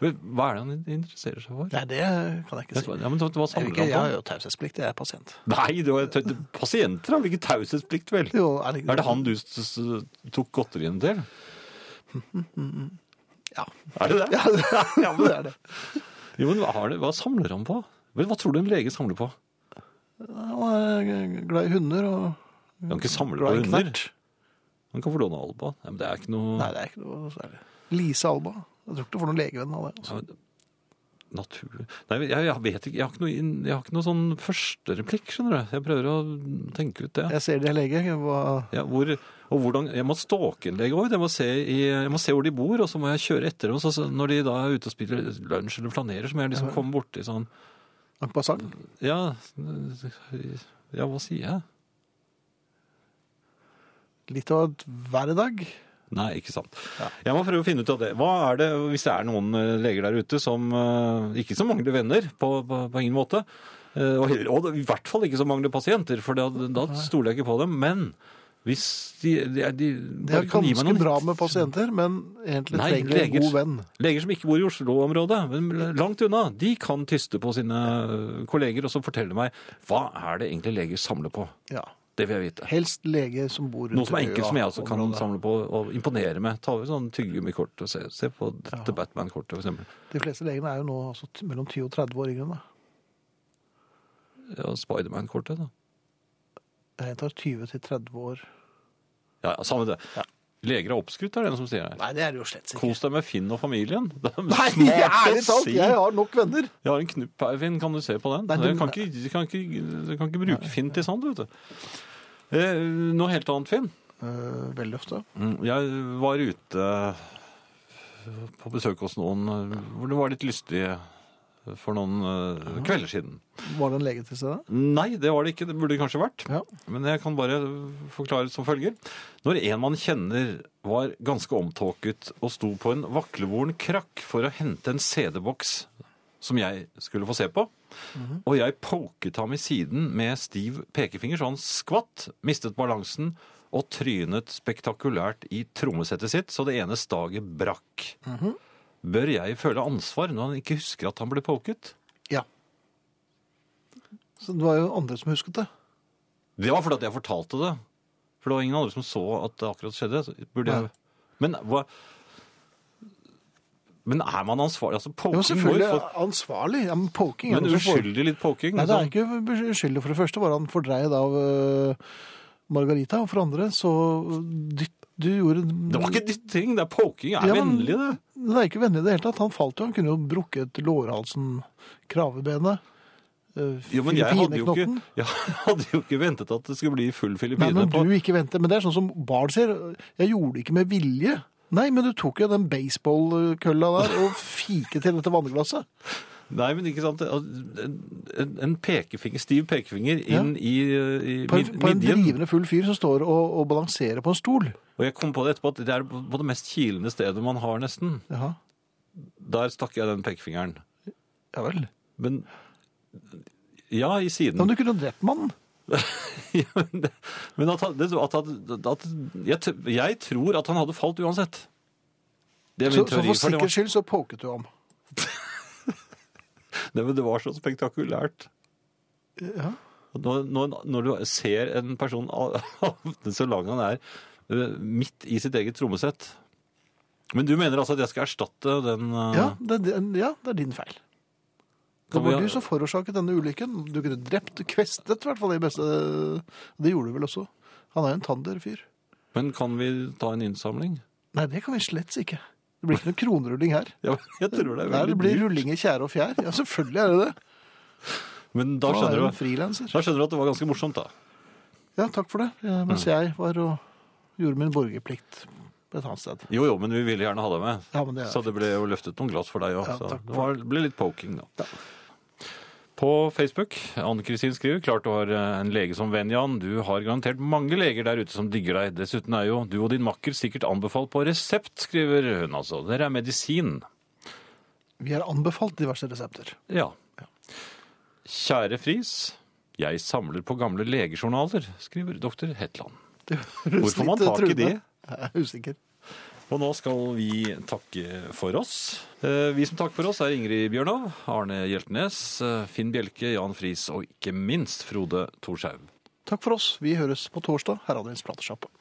Speaker 2: Men Hva er det han interesserer seg for?
Speaker 1: Nei, det kan jeg ikke si.
Speaker 2: Ja, men så- Hva
Speaker 1: Jeg, vil
Speaker 2: samler
Speaker 1: ikke, jeg har
Speaker 2: han på?
Speaker 1: jo taushetsplikt, jeg er pasient.
Speaker 2: Nei, du har, tø- pasienter har vel ikke taushetsplikt, vel?
Speaker 1: Jo, er,
Speaker 2: Er det han du s- s- tok godterien til?
Speaker 1: Ja.
Speaker 2: Er det det?
Speaker 1: Ja, det er det.
Speaker 2: Jo, men hva, har det, hva samler han på? Vel, hva tror du en lege samler på?
Speaker 1: Han er glad i hunder og
Speaker 2: Han kan ikke samle på
Speaker 1: glad i
Speaker 2: hunder.
Speaker 1: knert.
Speaker 2: Han kan få låne Alba. Nei, men det er ikke noe
Speaker 1: Nei, det er ikke noe særlig. Lise Alba. Jeg tror ikke du får noen legevenn av det. Altså.
Speaker 2: Ja, men- Natur... Nei, jeg, jeg vet ikke. Jeg har ikke noe, inn- jeg har ikke noe sånn førstereplikk, skjønner du. Jeg prøver å tenke ut det.
Speaker 1: Jeg ser de er lege. hva-
Speaker 2: Ja, hvor, og hvordan, jeg må stalke en lege òg. Jeg, må se i- jeg må se hvor de bor, og så må jeg kjøre etter dem. Så, så når de da er ute og spiller lunsj eller flanerer, så må jeg liksom komme borti sånn
Speaker 1: En passant.
Speaker 2: Ja, ja hva sier jeg?
Speaker 1: Litt av et hver dag.
Speaker 2: Nei, ikke sant. Jeg må prøve å finne ut av det. Hva er det, Hvis det er noen eh, leger der ute som eh, ikke som mangler venner, på, på, på ingen måte, eh, og, heller, og i hvert fall ikke som mangler pasienter, for da, da stoler jeg ikke på dem, men hvis de, de, de,
Speaker 1: De er
Speaker 2: bare kan gi meg
Speaker 1: ganske
Speaker 2: noen
Speaker 1: bra med pasienter, men egentlig
Speaker 2: Nei,
Speaker 1: trenger de en
Speaker 2: leger.
Speaker 1: god venn.
Speaker 2: Leger som ikke bor i Oslo-området, men langt unna, de kan tyste på sine eh, kolleger og så fortelle meg hva er det egentlig leger samler på.
Speaker 1: Ja.
Speaker 2: Det vil jeg vite.
Speaker 1: Helst lege som bor rundt
Speaker 2: Noe som er enkelt, som jeg også kan
Speaker 1: øya-området.
Speaker 2: samle på og imponere med. Ta over sånn tyggegummikort og se, se på dette Batman-kortet, for eksempel.
Speaker 1: De fleste legene er jo nå altså, t- mellom 20 og 30 år yngre. enn meg.
Speaker 2: Ja, Spiderman-kortet, da.
Speaker 1: Jeg tar 20 til 30 år.
Speaker 2: Ja, ja, samme det. Leger er oppskrytt, er det en som sier her.
Speaker 1: Nei, det er det jo slett ikke.
Speaker 2: Kos deg med Finn og familien. Det er
Speaker 1: Nei,
Speaker 2: smart å
Speaker 1: ærlig talt,
Speaker 2: si.
Speaker 1: jeg har nok venner.
Speaker 2: Jeg har en knupp her, Finn. Kan du se på den?
Speaker 1: Nei, du-
Speaker 2: jeg, kan ikke, jeg, kan ikke, jeg kan ikke bruke Finn til sånt, vet du. Eh, noe helt annet, Finn.
Speaker 1: Eh, veldig ofte.
Speaker 2: Mm, Jeg var ute på besøk hos noen eh, hvor det var litt lystig for noen eh, kvelder siden.
Speaker 1: Var det en lege til stede?
Speaker 2: Nei, det var det ikke. Det burde det kanskje vært.
Speaker 1: Ja.
Speaker 2: Men jeg kan bare forklare som følger. Når en man kjenner var ganske omtåket og sto på en vaklevoren krakk for å hente en CD-boks som jeg skulle få se på, og jeg poket ham i siden med stiv pekefinger, så han skvatt, mistet balansen og trynet spektakulært i trommesettet sitt, så det ene staget brakk. Bør jeg føle ansvar når han ikke husker at han ble poket?
Speaker 1: Ja. Så det var jo andre som husket det.
Speaker 2: Det var fordi at jeg fortalte det. For det var ingen andre som så at det akkurat skjedde. Så Burde jeg... Men hva... Men er man ansvarlig? Altså,
Speaker 1: Det var
Speaker 2: poking må
Speaker 1: selvfølgelig
Speaker 2: jo få...
Speaker 1: ansvarlig. Ja, men poking er
Speaker 2: Men
Speaker 1: noe som foregår.
Speaker 2: uskyldig litt poking.
Speaker 1: Nei, det er
Speaker 2: liksom.
Speaker 1: ikke eh, uskyldig. For det første var han fordreid av øh, Margarita, og for andre så dytt Du gjorde
Speaker 2: Det var ikke dytting, det er poking. Det er
Speaker 1: Ja, men-
Speaker 2: vennlig, det.
Speaker 1: Det er ikke vennlig i det hele tatt. Han falt jo. Han kunne jo brukket lårhalsen, kravebenet, eh,
Speaker 2: Jo, men jeg hadde jo,
Speaker 1: filipineknotten.
Speaker 2: ikke, jeg hadde jo ikke ventet at det skulle bli full
Speaker 1: Nei,
Speaker 2: filippine
Speaker 1: men
Speaker 2: på.
Speaker 1: du ikke venter. Men det er sånn som barn sier. Jeg gjorde det ikke med vilje. Nei, men du tok jo den baseballkølla der og fiket til dette vannglasset.
Speaker 2: Nei, men ikke sant. Altså, En, en- en pekefinger, stiv pekefinger inn i, i
Speaker 1: På en,
Speaker 2: mid-
Speaker 1: på en
Speaker 2: midjen.
Speaker 1: drivende full fyr som står og, og balanserer på en stol.
Speaker 2: Og jeg kom på det etterpå at det er på det mest kilende stedet man har nesten.
Speaker 1: Jaha.
Speaker 2: Der stakk jeg den pekefingeren.
Speaker 1: Ja vel.
Speaker 2: Men ja, i siden.
Speaker 1: Ja, men du kunne jo drept mannen.
Speaker 2: Ja, men det- men at, han- det- at, han- at jeg, t- jeg tror at han hadde falt uansett. Det er
Speaker 1: Så,
Speaker 2: min
Speaker 1: så
Speaker 2: teori.
Speaker 1: for
Speaker 2: for det,
Speaker 1: sikkerhets skyld så poket du ham.
Speaker 2: var, Nei, men det var så spektakulært.
Speaker 1: Eh, Ja.
Speaker 2: Når, når, når du ser en person havne så lang han er, eh, midt i sitt eget trommesett Men du mener altså at jeg skal erstatte den eh,
Speaker 1: Ja, det, er din- ja, det er din feil. Det
Speaker 2: Kan
Speaker 1: var
Speaker 2: vi-
Speaker 1: du som forårsaket denne ulykken. Du kunne drept, kvestet i hvert fall de beste. Det gjorde du vel også. Han er jo en tander fyr.
Speaker 2: Men kan vi ta en innsamling?
Speaker 1: Nei, det kan vi slett ikke. Det blir ikke noe kronrulling her.
Speaker 2: Ja, men jeg tror det
Speaker 1: Nei,
Speaker 2: er veldig
Speaker 1: det blir
Speaker 2: dyrt.
Speaker 1: rulling i tjære og fjær. Ja, selvfølgelig er det det.
Speaker 2: Men da
Speaker 1: Han er jo
Speaker 2: skjønner,
Speaker 1: en
Speaker 2: du,
Speaker 1: frilanser.
Speaker 2: da skjønner du at det var ganske morsomt, da.
Speaker 1: Ja, takk for det. Ja,
Speaker 2: Mm.
Speaker 1: mens jeg var og gjorde min borgerplikt på et annet sted.
Speaker 2: Jo, jo, men vi ville gjerne ha deg med.
Speaker 1: Ja, men det
Speaker 2: Så
Speaker 1: er...
Speaker 2: det ble jo løftet noen glass for deg òg.
Speaker 1: Ja,
Speaker 2: så
Speaker 1: takk
Speaker 2: det var, ble litt poking, da. På Facebook, Anne-Kristin skriver klart du har eh, en lege som venn, Jan. Du har garantert mange leger der ute som digger deg. Dessuten er jo du og din makker sikkert anbefalt på resept, skriver hun altså. Dere er medisin.
Speaker 1: Vi har anbefalt diverse resepter.
Speaker 2: Ja. Kjære Friis. Jeg samler på gamle legejournaler, skriver doktor Hetland. Hvorfor man tak i det?
Speaker 1: Jeg er usikker.
Speaker 2: Og nå skal vi takke for oss. Eh, Vi som takker for oss er Ingrid Bjørnov, Arne Hjeltnes, eh, Finn Bjelke, Jan Friis og ikke minst Frode Thorshaug.
Speaker 1: Takk for oss. Vi høres på torsdag. Her hadde vi en